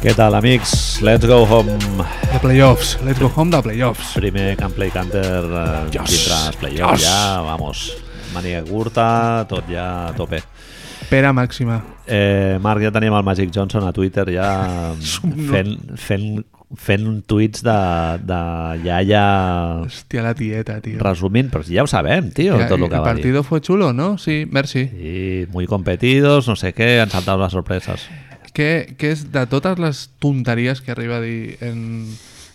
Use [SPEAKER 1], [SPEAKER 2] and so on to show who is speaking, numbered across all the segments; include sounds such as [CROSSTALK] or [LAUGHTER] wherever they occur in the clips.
[SPEAKER 1] Què tal, amics? Let's go home.
[SPEAKER 2] De playoffs, let's go home de playoffs.
[SPEAKER 1] Primer Can Play Canter eh,
[SPEAKER 2] Yes.
[SPEAKER 1] dintre dels playoffs.
[SPEAKER 2] Yes.
[SPEAKER 1] Ja, vamos. Màniga curta, tot ja a tope.
[SPEAKER 2] Pera màxima.
[SPEAKER 1] Eh, Marc, ja teníem el Magic Johnson a Twitter
[SPEAKER 2] [LAUGHS]
[SPEAKER 1] ja
[SPEAKER 2] Somno.
[SPEAKER 1] fent, fent, fent tuits de, de iaia
[SPEAKER 2] Hòstia, la tieta, tio.
[SPEAKER 1] resumint, però ja ho sabem, tio,
[SPEAKER 2] Ya,
[SPEAKER 1] tot el
[SPEAKER 2] el
[SPEAKER 1] que va dir.
[SPEAKER 2] partido fue chulo, ¿no? Sí, merci.
[SPEAKER 1] Sí, muy competidos, no sé què, han saltat les sorpreses.
[SPEAKER 2] Que, que és de totes les tonteries que arriba a dir en,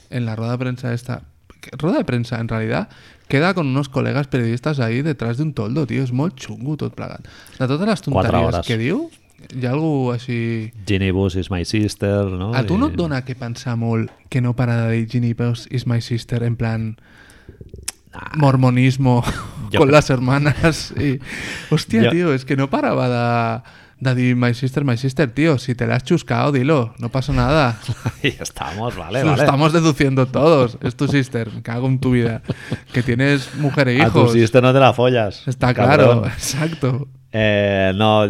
[SPEAKER 2] en la rueda de prensa esta... que- Rueda de prensa, en realidad, queda con unos colegas periodistas ahí detrás de un toldo, tío. És molt xungo tot plegat. De totes
[SPEAKER 1] hores.
[SPEAKER 2] les tonteries que diu, hi ha algú així...
[SPEAKER 1] Ginny Bush is my sister, no?
[SPEAKER 2] A tu no et
[SPEAKER 1] I- [LAUGHS]
[SPEAKER 2] dona que pensar molt que no para de dir Ginny Bells is my sister en plan
[SPEAKER 1] [LAUGHS]
[SPEAKER 2] mormonismo
[SPEAKER 1] Jo
[SPEAKER 2] con
[SPEAKER 1] crec-
[SPEAKER 2] las hermanas y hostia
[SPEAKER 1] Jo-
[SPEAKER 2] tío, es que no paraba de, de dir my sister, my sister tío, si te la has chuscado dilo, no pasa nada
[SPEAKER 1] Ahí estamos, [LAUGHS] vale,
[SPEAKER 2] lo
[SPEAKER 1] vale.
[SPEAKER 2] estamos deduciendo todos, es tu sister me cago en tu vida, que tienes mujer e
[SPEAKER 1] A tu
[SPEAKER 2] hijos,
[SPEAKER 1] sister no te la follas.
[SPEAKER 2] está
[SPEAKER 1] cabrón.
[SPEAKER 2] claro exacto,
[SPEAKER 1] Eh, no,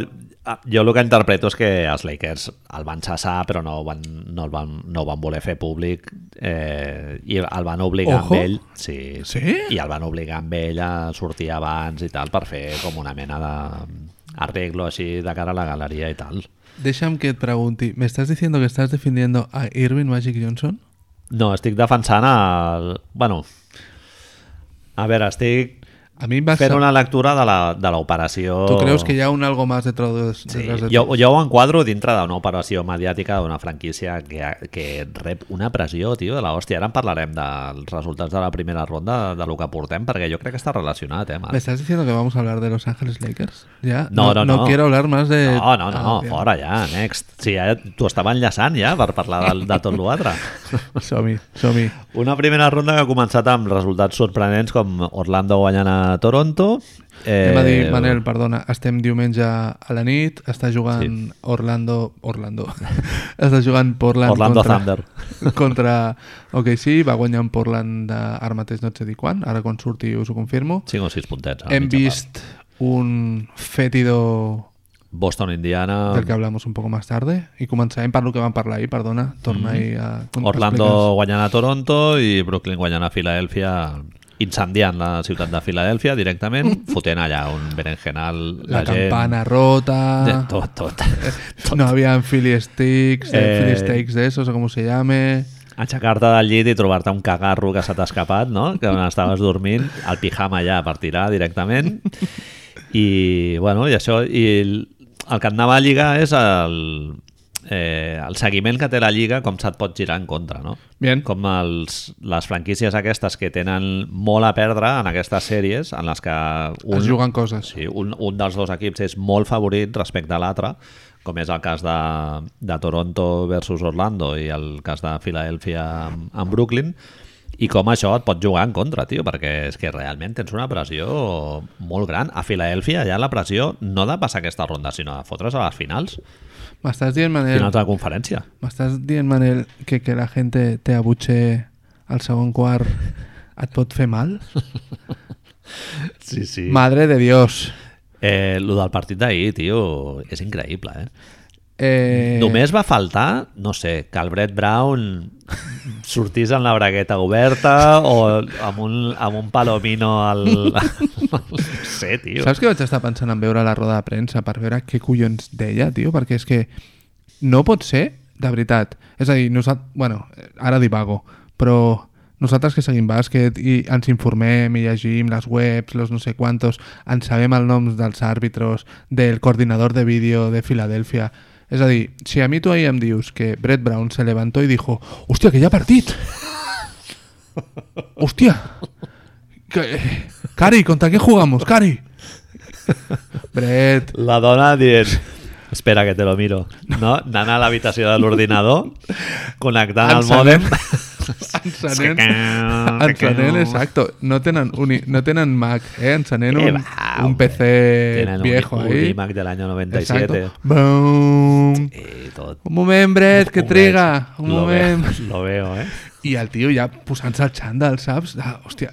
[SPEAKER 1] ah, jo el que interpreto és que els Lakers el van cessar però no, ho van, no, el van, no ho van voler fer públic eh, i el van obligar
[SPEAKER 2] Ojo.
[SPEAKER 1] amb ell sí,
[SPEAKER 2] Sí?
[SPEAKER 1] i el van obligar amb ell a sortir abans i tal per fer com una mena de arreglo així de cara a la galeria i tal
[SPEAKER 2] déjame que te pregunte ¿me estás diciendo que estás defendiendo a Irving Magic Johnson?
[SPEAKER 1] no, estic defensant el... bueno a veure, estic
[SPEAKER 2] A mí me
[SPEAKER 1] fent una lectura de la- de l'operació
[SPEAKER 2] ¿Tú crees que ya un algo más detrás de,
[SPEAKER 1] Oh. Sí,
[SPEAKER 2] detrás de
[SPEAKER 1] jo, jo ho enquadro dintre d'una operació mediàtica d'una franquícia que, que rep una pressió, tio, de l'hòstia. Ara en parlarem dels resultats de la primera ronda, de lo que portem, perquè jo crec que està relacionat, eh,
[SPEAKER 2] ¿Me
[SPEAKER 1] Marc?
[SPEAKER 2] estás diciendo que vamos a hablar de Los Ángeles Lakers? ¿Ya?
[SPEAKER 1] No, no, no.
[SPEAKER 2] quiero hablar más de...
[SPEAKER 1] No, no, no,
[SPEAKER 2] Ah, bien. [LAUGHS]
[SPEAKER 1] fora ja, next. Sí, ja t'ho estava enllaçant ja per parlar de, de tot
[SPEAKER 2] [LAUGHS]
[SPEAKER 1] l'altre.
[SPEAKER 2] Somi, Somi.
[SPEAKER 1] Una primera ronda que ha començat amb resultats sorprenents com Orlando guanyant a Toronto.
[SPEAKER 2] Eh...
[SPEAKER 1] Eh,
[SPEAKER 2] Anem a dir, Manel, perdona, estem diumenge a la nit, està jugant sí. Orlando... Orlando. [LAUGHS] està jugant Portland
[SPEAKER 1] Orlando
[SPEAKER 2] contra...
[SPEAKER 1] Thunder.
[SPEAKER 2] [LAUGHS] contra OKC, va guanyar en Portland de... ara mateix no et sé dir quan, ara quan surti us ho confirmo.
[SPEAKER 1] 5 o 6 puntets. a la
[SPEAKER 2] Hem
[SPEAKER 1] mitja part.
[SPEAKER 2] vist un fétido
[SPEAKER 1] Boston, Indiana,
[SPEAKER 2] del que hablamos un poco más tarde i començarem per lo que vam parlar ahir, perdona, torna ahir a...
[SPEAKER 1] Orlando guanyant a Toronto i Brooklyn guanyant a Filadèlfia incendiant la ciutat de Filadèlfia directament, fotent allà un berenjenal
[SPEAKER 2] Mm. la,
[SPEAKER 1] gent,
[SPEAKER 2] campana rota.
[SPEAKER 1] de tot, tot
[SPEAKER 2] [LAUGHS] No habían Philly Sticks, eh,
[SPEAKER 1] Eh,
[SPEAKER 2] Philly Steaks de esos, o como se llame.
[SPEAKER 1] aixecar-te del llit i trobar-te un cagarro que s'ha escapat, no? que on estaves dormint el pijama allà per tirar directament i bueno i això, i el, el que et anava a lligar és el, eh, el seguiment que té la lliga com se't pot girar en contra no?
[SPEAKER 2] Bien.
[SPEAKER 1] com els, les franquícies aquestes que tenen molt a perdre en aquestes sèries en les que un,
[SPEAKER 2] Es juguen coses.
[SPEAKER 1] Sí, un, un dels dos equips és molt favorit respecte a l'altre, com és el cas de, de Toronto versus Orlando i el cas de Filadèlfia amb, amb Brooklyn, i com això et pot jugar en contra, tio, perquè és que realment tens una pressió molt gran. A Filadèlfia ja la pressió no de passar aquesta ronda, sinó de fotre's a les finals,
[SPEAKER 2] M'estàs dient, Manel,
[SPEAKER 1] finals de la conferència.
[SPEAKER 2] m'estàs dient, Manel, que, que la gente te abutxe al segon quart et pot fer mal?
[SPEAKER 1] Sí, sí.
[SPEAKER 2] Madre de Dios.
[SPEAKER 1] Eh, lo del partit d'ahir, tio, és increïble, eh?
[SPEAKER 2] Eh,
[SPEAKER 1] Només va faltar, no sé, que el Brett Brown sortís amb la bragueta oberta o amb un, amb un palomino al... no sé, tio.
[SPEAKER 2] Saps que vaig estar pensant en veure la roda de premsa per veure què collons deia, tio? Perquè és que no pot ser, de veritat. És a dir, nosaltres... Bueno, ara divago, però nosaltres que seguim bàsquet i ens informem i llegim les webs, los no sé quantos, ens sabem els noms dels àrbitros, del coordinador de vídeo de Filadèlfia... És a dir, si a mi tu ahir em dius que Brett Brown se levantó i dijo «Hòstia, que hi ha partit!» ¡Hostia! Que- Cari, ¿contra qué jugamos? Cari. Brett.
[SPEAKER 1] La dona dient... Espera que te lo miro. No? Anant a l'habitació de l'ordinador, connectant el
[SPEAKER 2] Encenent.
[SPEAKER 1] mòdem...
[SPEAKER 2] Encenent. Encenent, exacto. No tenen, uni- no tenen Mac, eh? Encenent
[SPEAKER 1] Eh,
[SPEAKER 2] un,
[SPEAKER 1] va,
[SPEAKER 2] un
[SPEAKER 1] hombre.
[SPEAKER 2] PC
[SPEAKER 1] Tenen un-
[SPEAKER 2] viejo
[SPEAKER 1] un,
[SPEAKER 2] ahí.
[SPEAKER 1] iMac de l'any 97.
[SPEAKER 2] Exacto. Boom.
[SPEAKER 1] I tot.
[SPEAKER 2] Un moment, Brett, que
[SPEAKER 1] Ho
[SPEAKER 2] triga.
[SPEAKER 1] veig.
[SPEAKER 2] Un
[SPEAKER 1] Lo
[SPEAKER 2] moment.
[SPEAKER 1] veo, Lo veo, eh?
[SPEAKER 2] I el tio ja posant-se el xandall, saps? Ah, hòstia,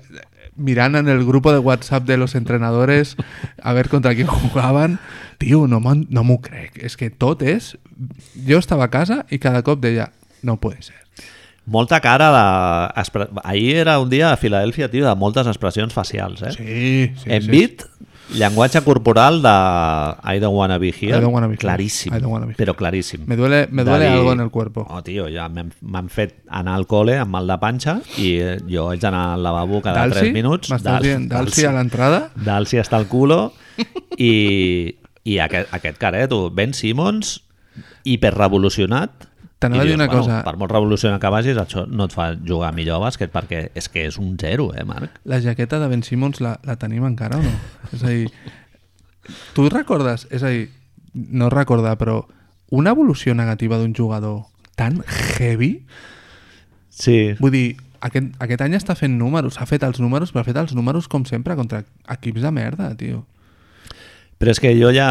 [SPEAKER 2] mirant en el grupo de WhatsApp de los entrenadores a ver contra quién jugaven. Tio, no m'ho no m'ho crec. És que tot és... Jo estava a casa i cada cop deia, no puede ser.
[SPEAKER 1] Molta cara de... expre- Ahir era un dia a Filadèlfia, tio, de moltes expressions facials, eh?
[SPEAKER 2] Sí, sí,
[SPEAKER 1] Envid, llenguatge corporal de I don't wanna be here,
[SPEAKER 2] I don't wanna be here.
[SPEAKER 1] claríssim,
[SPEAKER 2] I don't wanna be here.
[SPEAKER 1] però claríssim.
[SPEAKER 2] Me duele, me
[SPEAKER 1] De
[SPEAKER 2] duele
[SPEAKER 1] dir,
[SPEAKER 2] algo en el cuerpo.
[SPEAKER 1] Oh, tio, ja m'hem- m'han fet anar al col·le amb mal de panxa i eh, jo haig d'anar al lavabo cada 3 minuts.
[SPEAKER 2] M'estàs
[SPEAKER 1] Dal-
[SPEAKER 2] dient Dalsi a l'entrada?
[SPEAKER 1] Dalsi està al culo i, i aquest, aquest careto, Ben Simmons hiperrevolucionat
[SPEAKER 2] T'anava
[SPEAKER 1] I
[SPEAKER 2] a dir
[SPEAKER 1] dius,
[SPEAKER 2] una cosa.
[SPEAKER 1] Per molt revolucionat que vagis, això no et fa jugar millor a bàsquet perquè és que és un zero, eh, Marc?
[SPEAKER 2] La jaqueta de Ben Simmons la, la tenim encara o no? És a dir, tu recordes, és a dir, no recordar, però una evolució negativa d'un jugador tan heavy?
[SPEAKER 1] Sí.
[SPEAKER 2] Vull dir, aquest, aquest any està fent números, ha fet els números, però ha fet els números com sempre contra equips de merda, tio.
[SPEAKER 1] Però és que jo ja...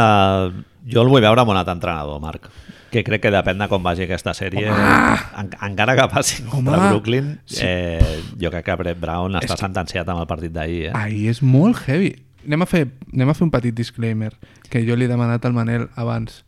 [SPEAKER 1] Jo el vull veure amb un altre entrenador, Marc. Que crec que depèn de com vagi aquesta sèrie. En, encara que passi contra
[SPEAKER 2] Home!
[SPEAKER 1] Brooklyn,
[SPEAKER 2] Sí.
[SPEAKER 1] eh, jo crec que Brett Brown està sentenciat amb el partit d'ahir. Eh?
[SPEAKER 2] Ahir és molt heavy. Anem a, fer, anem a fer un petit disclaimer que jo li he demanat al Manel abans.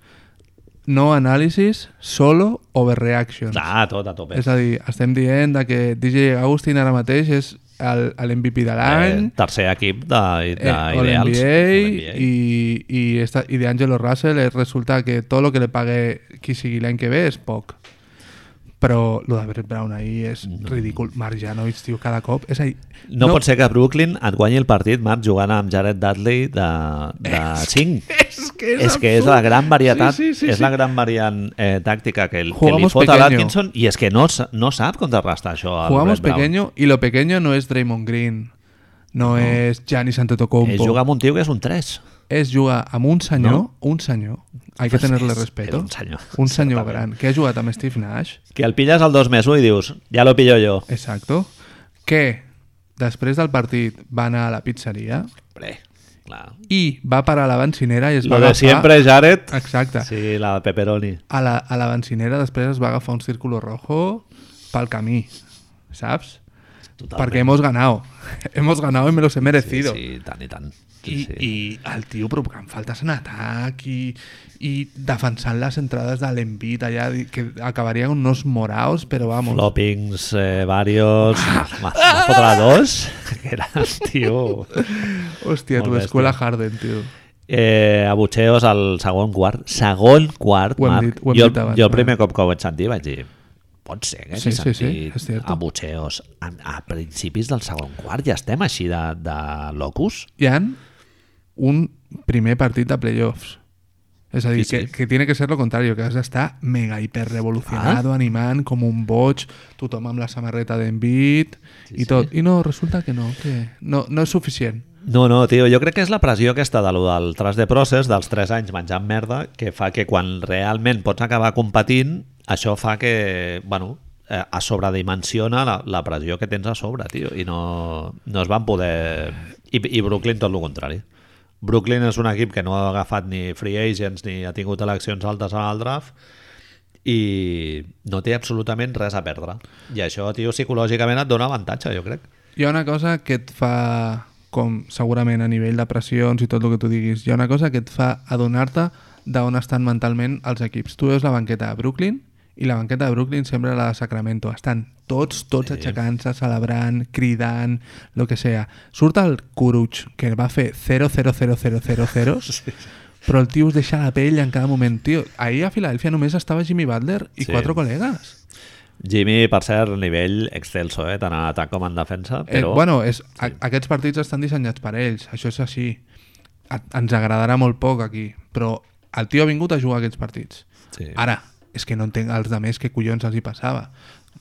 [SPEAKER 2] No anàlisis, solo overreactions.
[SPEAKER 1] Ah, tot a tope.
[SPEAKER 2] doncs. És a dir, estem dient de que DJ Agustin ara mateix és el- el MVP de l'any,
[SPEAKER 1] Eh, tercer equip de-
[SPEAKER 2] eh,
[SPEAKER 1] d'ideals.
[SPEAKER 2] All-NBA, i, i, esta, i de Angelo Russell eh, resulta que tot el que le pague qui sigui l'any que ve és poc. Però lo de Brett Brown ahir és ridícul. Marjanovic, tio, cada cop... És a dir,
[SPEAKER 1] No, no pot ser que Brooklyn et guanyi el partit, Marc, jugant amb Jared Dudley de, de 5.
[SPEAKER 2] [LAUGHS] [LAUGHS] És que és,
[SPEAKER 1] és que és la gran varietat,
[SPEAKER 2] Sí, sí, sí,
[SPEAKER 1] és
[SPEAKER 2] sí.
[SPEAKER 1] la gran variant eh, tàctica que, el- que li
[SPEAKER 2] Jugamos
[SPEAKER 1] fot a
[SPEAKER 2] pequeño.
[SPEAKER 1] l'Atkinson i és que no, s- no sap contrarrestar això al
[SPEAKER 2] Jugamos
[SPEAKER 1] Brett Brown.
[SPEAKER 2] pequeño y lo pequeño no es Draymond Green, no, és Giannis Antetokounmpo.
[SPEAKER 1] És jugar amb un tio que és un 3.
[SPEAKER 2] és jugar amb un senyor,
[SPEAKER 1] No?
[SPEAKER 2] un senyor, hay que
[SPEAKER 1] Pues
[SPEAKER 2] tenerle
[SPEAKER 1] és-
[SPEAKER 2] respeto,
[SPEAKER 1] era un senyor,
[SPEAKER 2] un senyor
[SPEAKER 1] certament.
[SPEAKER 2] gran, que ha jugat amb Steve Nash,
[SPEAKER 1] Que el pilles al 2 més 1 i dius, ja lo pillo jo.
[SPEAKER 2] exacto, que després del partit va anar a la pizzeria
[SPEAKER 1] Hombre, clar.
[SPEAKER 2] i va parar a la bencinera i es va
[SPEAKER 1] Lo de siempre, Jared.
[SPEAKER 2] Exacte.
[SPEAKER 1] Sí, la de Pepperoni.
[SPEAKER 2] A la, a la bencinera després es va agafar un círculo rojo pel camí, saps?
[SPEAKER 1] Totalment.
[SPEAKER 2] Perquè hemos ganado. [LAUGHS] hemos ganado y me los he merecido.
[SPEAKER 1] Sí, sí, tant i tant. Sí,
[SPEAKER 2] I,
[SPEAKER 1] sí.
[SPEAKER 2] i el tio provocant faltes en atac i, i defensant les entrades de l'envit allà, di- que acabaria amb uns moraos, però vamos.
[SPEAKER 1] Floppings, eh, varios...
[SPEAKER 2] Ah.
[SPEAKER 1] [LAUGHS] Va, va fotre dos. [LAUGHS] Que era el tio...
[SPEAKER 2] Hòstia,
[SPEAKER 1] Molt
[SPEAKER 2] tu,
[SPEAKER 1] bèstia.
[SPEAKER 2] escola Harden, tio.
[SPEAKER 1] Eh, abutxeos al segon quart. Segon quart,
[SPEAKER 2] Ho hem
[SPEAKER 1] Marc.
[SPEAKER 2] dit- ho hem
[SPEAKER 1] jo,
[SPEAKER 2] dit abans,
[SPEAKER 1] jo el
[SPEAKER 2] Marc.
[SPEAKER 1] primer cop que ho vaig sentir vaig dir pot ser eh, que
[SPEAKER 2] Sí,
[SPEAKER 1] hagi
[SPEAKER 2] sí, sí,
[SPEAKER 1] sentit
[SPEAKER 2] és cierto.
[SPEAKER 1] abutxeos a, a principis del segon quart ja estem així de, de locus
[SPEAKER 2] Hi ha un primer partit de playoffs. És a dir,
[SPEAKER 1] Sí, sí.
[SPEAKER 2] Que, que tiene que ser lo contrario, que has d'estar mega hiper revolucionado, ah. animant, com un boig, tothom amb la samarreta d'envit sí, i tot. I no, resulta que no, que no, no és suficient.
[SPEAKER 1] No, no, tio, jo crec que és la pressió aquesta de lo del tras de process, dels 3 anys menjant merda, que fa que quan realment pots acabar competint, això fa que, bueno, eh, es sobredimensiona la, la pressió que tens a sobre, tio, i no, no es van poder... I, I Brooklyn tot el contrari. Brooklyn és un equip que no ha agafat ni free agents ni ha tingut eleccions altes en el draft i no té absolutament res a perdre. I això, tio, psicològicament et dona avantatge, jo crec.
[SPEAKER 2] Hi ha una cosa que et fa, com segurament a nivell de pressions i tot el que tu diguis, hi ha una cosa que et fa adonar-te d'on estan mentalment els equips. Tu veus la banqueta de Brooklyn i la banqueta de Brooklyn sempre la de Sacramento. Estan tots, tots sí. aixecant-se, celebrant, cridant, lo que sea. Surt el Kuruch, que va fer 0-0-0-0-0-0, [LAUGHS] sí. però el tio us deixa la pell en cada moment. Tio, ahir a Filadèlfia només estava Jimmy Butler i
[SPEAKER 1] Sí.
[SPEAKER 2] sí. quatre col·legues.
[SPEAKER 1] Jimmy, per cert, nivell excelso, eh? tant en atac com en defensa,
[SPEAKER 2] Eh,
[SPEAKER 1] però...
[SPEAKER 2] bueno, és, a, aquests partits estan dissenyats per ells, això és així. A, ens agradarà molt poc aquí, però el tio ha vingut a jugar aquests partits.
[SPEAKER 1] sí.
[SPEAKER 2] Ara, és que no entenc els de més que collons els hi passava.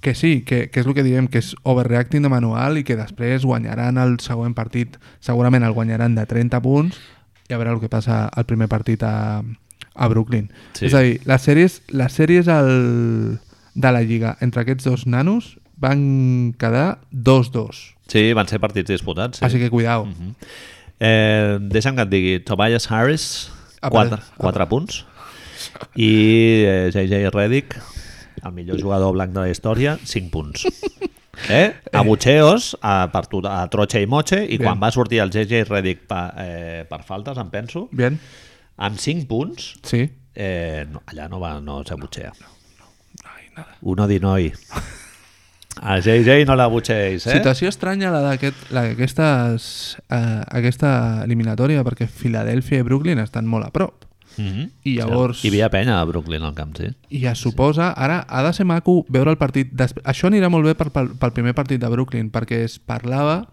[SPEAKER 2] Que sí, que, que és el que diem, que és overreacting de manual i que després guanyaran el següent partit, segurament el guanyaran de 30 punts i a veure el que passa al primer partit a, a Brooklyn.
[SPEAKER 1] Sí.
[SPEAKER 2] És a dir, les sèries, les sèries al, de la Lliga entre aquests dos nanos van quedar 2-2.
[SPEAKER 1] sí, van ser partits disputats.
[SPEAKER 2] Sí. Així
[SPEAKER 1] Sí.
[SPEAKER 2] que cuidao. Mm
[SPEAKER 1] Mhm. Eh, deixa'm que et digui, Tobias Harris,
[SPEAKER 2] Apa,
[SPEAKER 1] 4,
[SPEAKER 2] apa.
[SPEAKER 1] 4 punts,
[SPEAKER 2] [LAUGHS]
[SPEAKER 1] i eh, JJ Redick, el millor jugador blanc de la història, 5 punts. Eh? A butxeos, a, per tu, a trotxa i motxe, i quan va sortir el JJ Redick pa, eh, per faltes, em penso,
[SPEAKER 2] Bien.
[SPEAKER 1] amb 5 punts,
[SPEAKER 2] Sí.
[SPEAKER 1] eh, no, allà no, va, no s'abutxea.
[SPEAKER 2] Ai, nada.
[SPEAKER 1] Un odi noi. A JJ no l'abutxeis, eh?
[SPEAKER 2] Situació estranya la d'aquest- la d'aquestes eh, aquesta eliminatòria perquè Filadèlfia i Brooklyn estan molt a prop.
[SPEAKER 1] Mhm.
[SPEAKER 2] I llavors...
[SPEAKER 1] Hi havia penya a Brooklyn al camp, sí.
[SPEAKER 2] I es suposa, ara ha de ser maco veure el partit... Des- Això anirà molt bé per, pel, pel primer partit de Brooklyn, perquè es parlava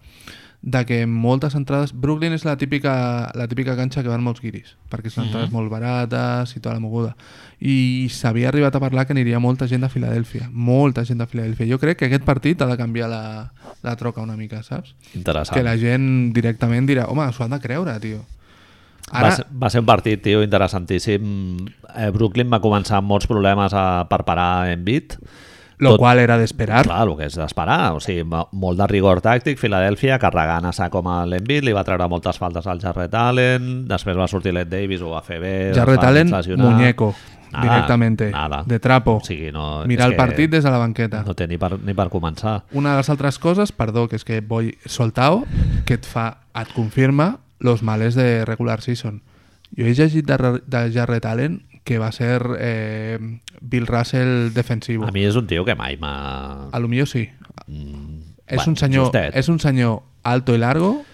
[SPEAKER 2] de que moltes entrades... Brooklyn és la típica, la típica canxa que van molts guiris, perquè
[SPEAKER 1] Mhm.
[SPEAKER 2] són entrades molt barates i tota la moguda. I s'havia arribat a parlar que aniria molta gent de Filadèlfia, molta gent de Filadèlfia. Jo crec que aquest partit ha de canviar la, la troca una mica, saps?
[SPEAKER 1] Interessant.
[SPEAKER 2] Que la gent directament dirà, home, s'ho han de creure, tio.
[SPEAKER 1] Ara... Va, ser, va ser un partit, tio, interessantíssim. Eh, Brooklyn va començar amb molts problemes a, per parar en bit.
[SPEAKER 2] lo qual era d'esperar,
[SPEAKER 1] Clar, el que és d'esperar, o sigui, mo- molt de rigor tàctic, Filadèlfia carregant a sa com a l'Envit, li va treure moltes faltes al Jarret Allen, després va sortir Led Davis, ho va fer bé,
[SPEAKER 2] Jarret
[SPEAKER 1] el va
[SPEAKER 2] Allen,
[SPEAKER 1] inflacionar.
[SPEAKER 2] muñeco,
[SPEAKER 1] Nada,
[SPEAKER 2] directamente,
[SPEAKER 1] nada.
[SPEAKER 2] de trapo.
[SPEAKER 1] O sigui, no,
[SPEAKER 2] Mirar
[SPEAKER 1] és
[SPEAKER 2] el
[SPEAKER 1] que
[SPEAKER 2] partit des de la banqueta.
[SPEAKER 1] No té ni per, ni per començar.
[SPEAKER 2] Una de les altres coses, perdó, que és que Boy Soltao, que et fa, et confirma los males de regular season. Jo he llegit de, Ra- de Jarret Allen que va ser eh, Bill Russell defensivo.
[SPEAKER 1] A mi és un tio que mai m'ha...
[SPEAKER 2] A lo millor sí.
[SPEAKER 1] Mm,
[SPEAKER 2] Ah, És, un senyor,
[SPEAKER 1] justet.
[SPEAKER 2] és un senyor alto i largo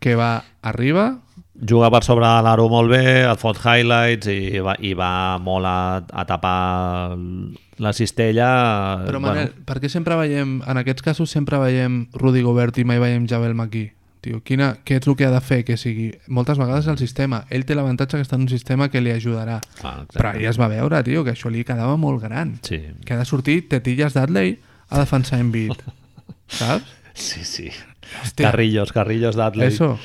[SPEAKER 2] que va arriba,
[SPEAKER 1] juga per sobre de l'aro molt bé, et fot highlights i va, i va molt a, a tapar l- la cistella. eh,
[SPEAKER 2] Però Manel, bueno. per què sempre veiem, en aquests casos sempre veiem Rudy Gobert i mai veiem Javel McGee? Tio, quina, què és el que ha de fer que sigui? Moltes vegades el sistema, ell té l'avantatge que està en un sistema que li ajudarà.
[SPEAKER 1] Clar, exacte.
[SPEAKER 2] Però ja es va veure, tio, que això li quedava molt gran.
[SPEAKER 1] Sí,
[SPEAKER 2] Que ha de sortir tetilles d'Adley a defensar Embiid. Saps?
[SPEAKER 1] sí, sí.
[SPEAKER 2] Hòstia.
[SPEAKER 1] Carrillos, carrillos d'Atley.
[SPEAKER 2] Eso.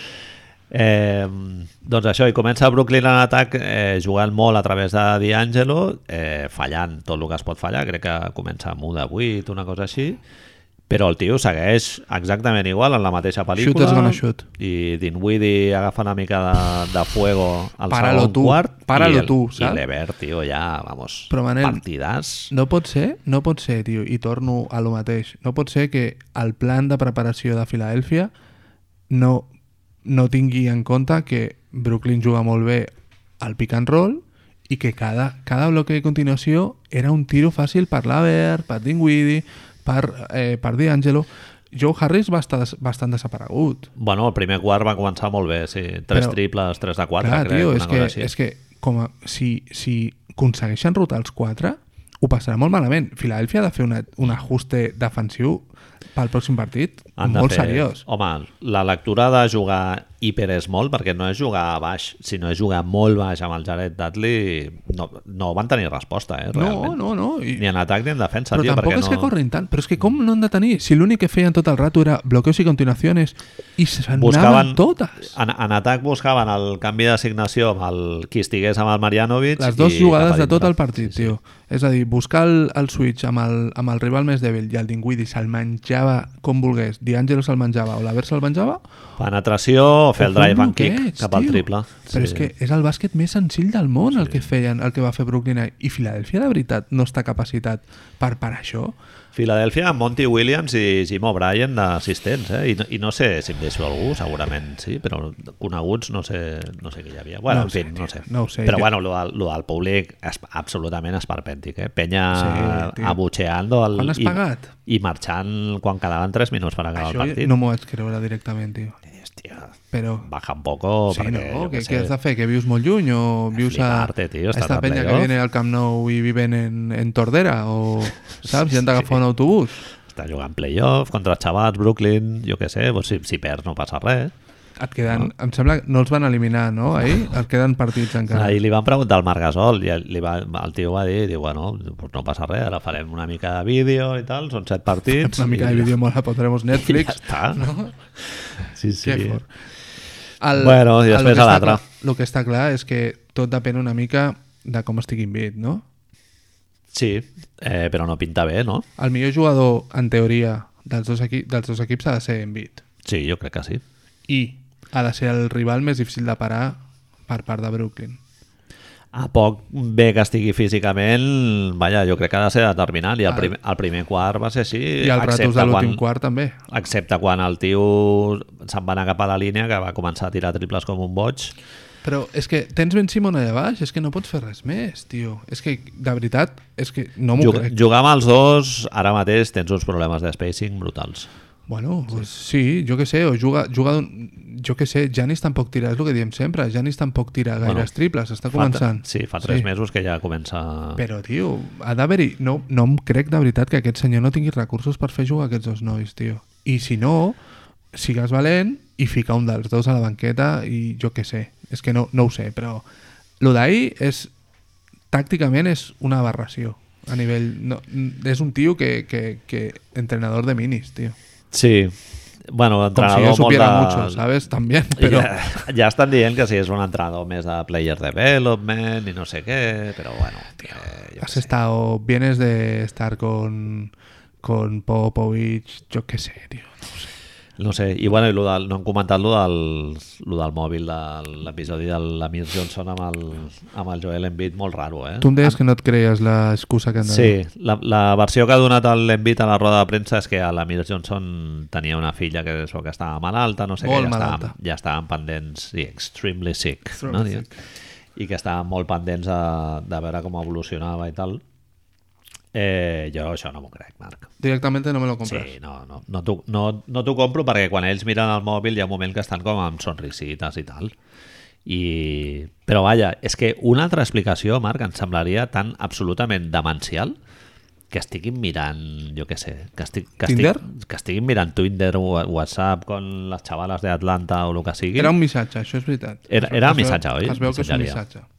[SPEAKER 1] Eh, doncs això, i comença Brooklyn en atac eh, jugant molt a través de D'Angelo, eh, fallant tot el que es pot fallar, crec que comença amb 1 de 8, una cosa així, però el tio segueix exactament igual en la mateixa pel·lícula.
[SPEAKER 2] Shooters gonna shoot.
[SPEAKER 1] I Dinwiddie agafa una mica de, de fuego al
[SPEAKER 2] Páralo
[SPEAKER 1] segon
[SPEAKER 2] tu,
[SPEAKER 1] quart.
[SPEAKER 2] páralo
[SPEAKER 1] i el-
[SPEAKER 2] tu,
[SPEAKER 1] I
[SPEAKER 2] saps?
[SPEAKER 1] l'Evert, tio, ja, vamos,
[SPEAKER 2] Però, Manel,
[SPEAKER 1] partidàs.
[SPEAKER 2] No pot ser, no pot ser, tio, i torno a lo mateix, no pot ser que el plan de preparació de Filadèlfia no, no tingui en compte que Brooklyn juga molt bé al pick and roll i que cada, cada bloque de continuació era un tiro fàcil per l'Aver, per Dinwiddie, per, eh, per D'Angelo. Joe Harris va estar des, bastant desaparegut.
[SPEAKER 1] Bueno, el primer quart va començar molt bé, sí. Tres
[SPEAKER 2] Però-
[SPEAKER 1] triples, tres de quatre,
[SPEAKER 2] Clar,
[SPEAKER 1] crec,
[SPEAKER 2] tio,
[SPEAKER 1] una
[SPEAKER 2] és
[SPEAKER 1] cosa
[SPEAKER 2] que,
[SPEAKER 1] així.
[SPEAKER 2] és que com a, si, si aconsegueixen rotar els quatre, ho passarà molt malament. Filadèlfia ha de fer una, un ajuste defensiu pel pròxim partit
[SPEAKER 1] Han de
[SPEAKER 2] molt
[SPEAKER 1] fer-
[SPEAKER 2] seriós.
[SPEAKER 1] Home, la lectura de jugar hiper small, perquè no és jugar a baix, sinó és jugar molt baix amb el Jared Dudley, no, no van tenir resposta, eh,
[SPEAKER 2] No,
[SPEAKER 1] realment.
[SPEAKER 2] no, no. I,
[SPEAKER 1] Ni en atac ni en defensa,
[SPEAKER 2] però
[SPEAKER 1] tio,
[SPEAKER 2] tampoc
[SPEAKER 1] perquè
[SPEAKER 2] és
[SPEAKER 1] no...
[SPEAKER 2] que corrin tant. Però és que com no han de tenir? Si l'únic que feien tot el rato era bloqueos i continuacions i se n'anaven
[SPEAKER 1] Buscaven, Ah,
[SPEAKER 2] totes.
[SPEAKER 1] en, en atac buscaven el canvi d'assignació amb el, qui estigués amb el Marjanovic
[SPEAKER 2] Les dues
[SPEAKER 1] i cap
[SPEAKER 2] jugades
[SPEAKER 1] a
[SPEAKER 2] de tot
[SPEAKER 1] dintre.
[SPEAKER 2] el partit, sí, sí. tio. És a dir, buscar el, el switch amb el, amb el rival més dèbil i el Dinguidi se'l menjava com volgués, D'Angelo se'l menjava o la Ver se'l menjava,
[SPEAKER 1] Penetració, fer el
[SPEAKER 2] Però
[SPEAKER 1] drive
[SPEAKER 2] com
[SPEAKER 1] and kick
[SPEAKER 2] bloqueig,
[SPEAKER 1] cap al
[SPEAKER 2] tio.
[SPEAKER 1] triple.
[SPEAKER 2] Però és que és el bàsquet més senzill del món el que feien, el que va fer Brooklyn Nine. i Filadèlfia de veritat no està capacitat per parar això.
[SPEAKER 1] Filadèlfia amb Monty Williams i Jim O'Brien d'assistents, eh? I, no, I no sé si em deixo algú, segurament sí, però coneguts no sé, no sé qui hi havia. Bueno,
[SPEAKER 2] No
[SPEAKER 1] no en
[SPEAKER 2] sé,
[SPEAKER 1] fi, no
[SPEAKER 2] tio,
[SPEAKER 1] sé.
[SPEAKER 2] no ho sé,
[SPEAKER 1] Però
[SPEAKER 2] jo-
[SPEAKER 1] bueno, lo, del- lo del públic és absolutament esperpèntic, eh? Penya
[SPEAKER 2] Sí,
[SPEAKER 1] sí,
[SPEAKER 2] tio.
[SPEAKER 1] abutxeando el,
[SPEAKER 2] Quan has
[SPEAKER 1] i,
[SPEAKER 2] pagat?
[SPEAKER 1] i marxant quan quedaven 3 minuts per acabar
[SPEAKER 2] Això
[SPEAKER 1] el partit.
[SPEAKER 2] no m'ho vaig creure directament, tio.
[SPEAKER 1] Hòstia,
[SPEAKER 2] Però...
[SPEAKER 1] baja un poco
[SPEAKER 2] sí,
[SPEAKER 1] perquè,
[SPEAKER 2] no?
[SPEAKER 1] jo
[SPEAKER 2] Què,
[SPEAKER 1] sé,
[SPEAKER 2] què has de fer? Que vius molt lluny o vius a,
[SPEAKER 1] flipar-te, tio,
[SPEAKER 2] a
[SPEAKER 1] estan
[SPEAKER 2] esta
[SPEAKER 1] a
[SPEAKER 2] penya que
[SPEAKER 1] playoff.
[SPEAKER 2] viene al Camp Nou i viven en, en Tordera
[SPEAKER 1] [LAUGHS]
[SPEAKER 2] o, saps? I han d'agafar un autobús.
[SPEAKER 1] està jugant playoff contra xavats, Brooklyn, jo què sé, doncs si, si perds no passa res.
[SPEAKER 2] Et queden, em sembla que no els van eliminar, no?
[SPEAKER 1] [LAUGHS]
[SPEAKER 2] Ahir et queden partits encara.
[SPEAKER 1] Ahir li van preguntar al Marc Gasol i el- li va, el tio va dir, diu, bueno, pues no passa res, ara farem una mica de vídeo i tal, són set partits.
[SPEAKER 2] Una mica
[SPEAKER 1] i,
[SPEAKER 2] de vídeo molt la pondremos
[SPEAKER 1] i [LAUGHS] ja
[SPEAKER 2] Netflix.
[SPEAKER 1] està. No? Sí, sí.
[SPEAKER 2] Que fort. El,
[SPEAKER 1] Bueno, i
[SPEAKER 2] el
[SPEAKER 1] després
[SPEAKER 2] que
[SPEAKER 1] a
[SPEAKER 2] està
[SPEAKER 1] l'altre.
[SPEAKER 2] clar- El que està clar és que tot depèn una mica de com estigui Embiid, no?
[SPEAKER 1] Sí, eh, però no pinta bé, no?
[SPEAKER 2] El millor jugador, en teoria, dels dos, equi dels dos equips ha de ser Embiid.
[SPEAKER 1] Sí, jo crec que sí.
[SPEAKER 2] I ha de ser el rival més difícil de parar per part de Brooklyn.
[SPEAKER 1] a poc bé que estigui físicament, vaja, jo crec que ha de ser determinant. I el,
[SPEAKER 2] Ah.
[SPEAKER 1] primer, el primer quart va ser així.
[SPEAKER 2] I el ratos de l'últim
[SPEAKER 1] Eh, quan,
[SPEAKER 2] quart també.
[SPEAKER 1] Excepte quan el tio se'n va anar cap a la línia, que va començar a tirar triples com un boig.
[SPEAKER 2] Però és que tens Ben Simon allà baix, és que no pots fer res més, tio. És que, de veritat, és que no m'ho
[SPEAKER 1] Jug
[SPEAKER 2] crec.
[SPEAKER 1] jugar amb els dos, ara mateix tens uns problemes de spacing brutals.
[SPEAKER 2] Bueno, pues sí, jo que sé, o juga, juga d'un- jo que sé, Janis tampoc tira, és el que diem sempre, Janis tampoc tira gaires
[SPEAKER 1] Bueno,
[SPEAKER 2] triples,
[SPEAKER 1] Fa
[SPEAKER 2] està
[SPEAKER 1] tre-
[SPEAKER 2] començant.
[SPEAKER 1] sí, fa tres mesos que ja comença...
[SPEAKER 2] Però, tio, ha d'haver-hi... No, no em crec, de veritat, que aquest senyor no tingui recursos per fer jugar aquests dos nois, tio. I si no, sigues valent i fica un dels dos a la banqueta i jo què sé. És que no, no ho sé, però... Lo d'ahir és... Tàcticament és una aberració. A nivell... No, és un tio que, que, que... Entrenador de minis, tio.
[SPEAKER 1] Sí. Bueno,
[SPEAKER 2] Com si
[SPEAKER 1] entrenador
[SPEAKER 2] jo
[SPEAKER 1] molt
[SPEAKER 2] supiera
[SPEAKER 1] de...
[SPEAKER 2] mucho,
[SPEAKER 1] [LAUGHS]
[SPEAKER 2] ¿sabes? También, pero...
[SPEAKER 1] Ja, ja estan dient que si és un entrenador més de player development i no sé què, però bueno... Tio, eh, jo
[SPEAKER 2] Has estado... Vienes de estar con... Con Popovich... Yo qué sé, tío.
[SPEAKER 1] No sé, i bueno, i lo del, no hem comentat lo del, lo del mòbil de l'episodi de l'Amir Johnson amb el, amb el Joel Embiid, molt raro, eh?
[SPEAKER 2] Tu em deies que no et creies l'excusa que han donat.
[SPEAKER 1] Sí, la, la versió que ha donat l'Embiid a la roda de premsa és que l'Amir Johnson tenia una filla que, això, que estava malalta, no sé
[SPEAKER 2] Molt
[SPEAKER 1] què, ja
[SPEAKER 2] malalta.
[SPEAKER 1] estaven, ja estaven pendents, sí, extremely sick,
[SPEAKER 2] Extremely
[SPEAKER 1] no? Diuen. i que estaven molt pendents de, de veure com evolucionava i tal. Eh, jo això no m'ho crec, Marc.
[SPEAKER 2] Directament no me lo compres.
[SPEAKER 1] Sí, no, no, no t'ho no, no t'ho compro perquè quan ells miren el mòbil hi ha un moment que estan com amb sonrisites i tal. I... Però vaja, és que una altra explicació, Marc, em semblaria tan absolutament demencial que estiguin mirant, jo què sé, que, estic, que,
[SPEAKER 2] Tinder?
[SPEAKER 1] estic, que estiguin mirant Twitter o WhatsApp con les xavales d'Atlanta o el que sigui.
[SPEAKER 2] Era un missatge, això és veritat.
[SPEAKER 1] Era-
[SPEAKER 2] Això-
[SPEAKER 1] era un
[SPEAKER 2] es veu-
[SPEAKER 1] missatge, oi?
[SPEAKER 2] Es veu pues que és un
[SPEAKER 1] Missatgeria.
[SPEAKER 2] missatge.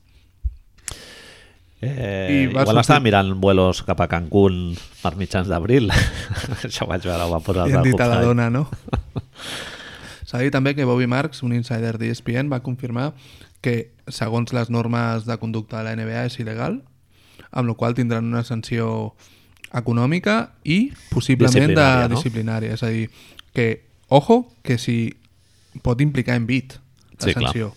[SPEAKER 1] Eh,
[SPEAKER 2] I va
[SPEAKER 1] igual
[SPEAKER 2] sortir-
[SPEAKER 1] estava mirant vuelos cap a Cancún per mitjans d'abril. [LAUGHS] Això ho vaig veure, ho va posar
[SPEAKER 2] I han
[SPEAKER 1] el
[SPEAKER 2] dit a la
[SPEAKER 1] Popeye.
[SPEAKER 2] dona, no? [LAUGHS] S'ha dit també que Bobby Marks, un insider d'ESPN, va confirmar que, segons les normes de conducta de la NBA, és il·legal, amb la qual cosa tindran una sanció econòmica i possiblement
[SPEAKER 1] Disciplinària, no?
[SPEAKER 2] disciplinària, de disciplinària. És a dir, que, ojo, que si pot implicar en bit la
[SPEAKER 1] Sí, clar. Mhm.
[SPEAKER 2] sanció.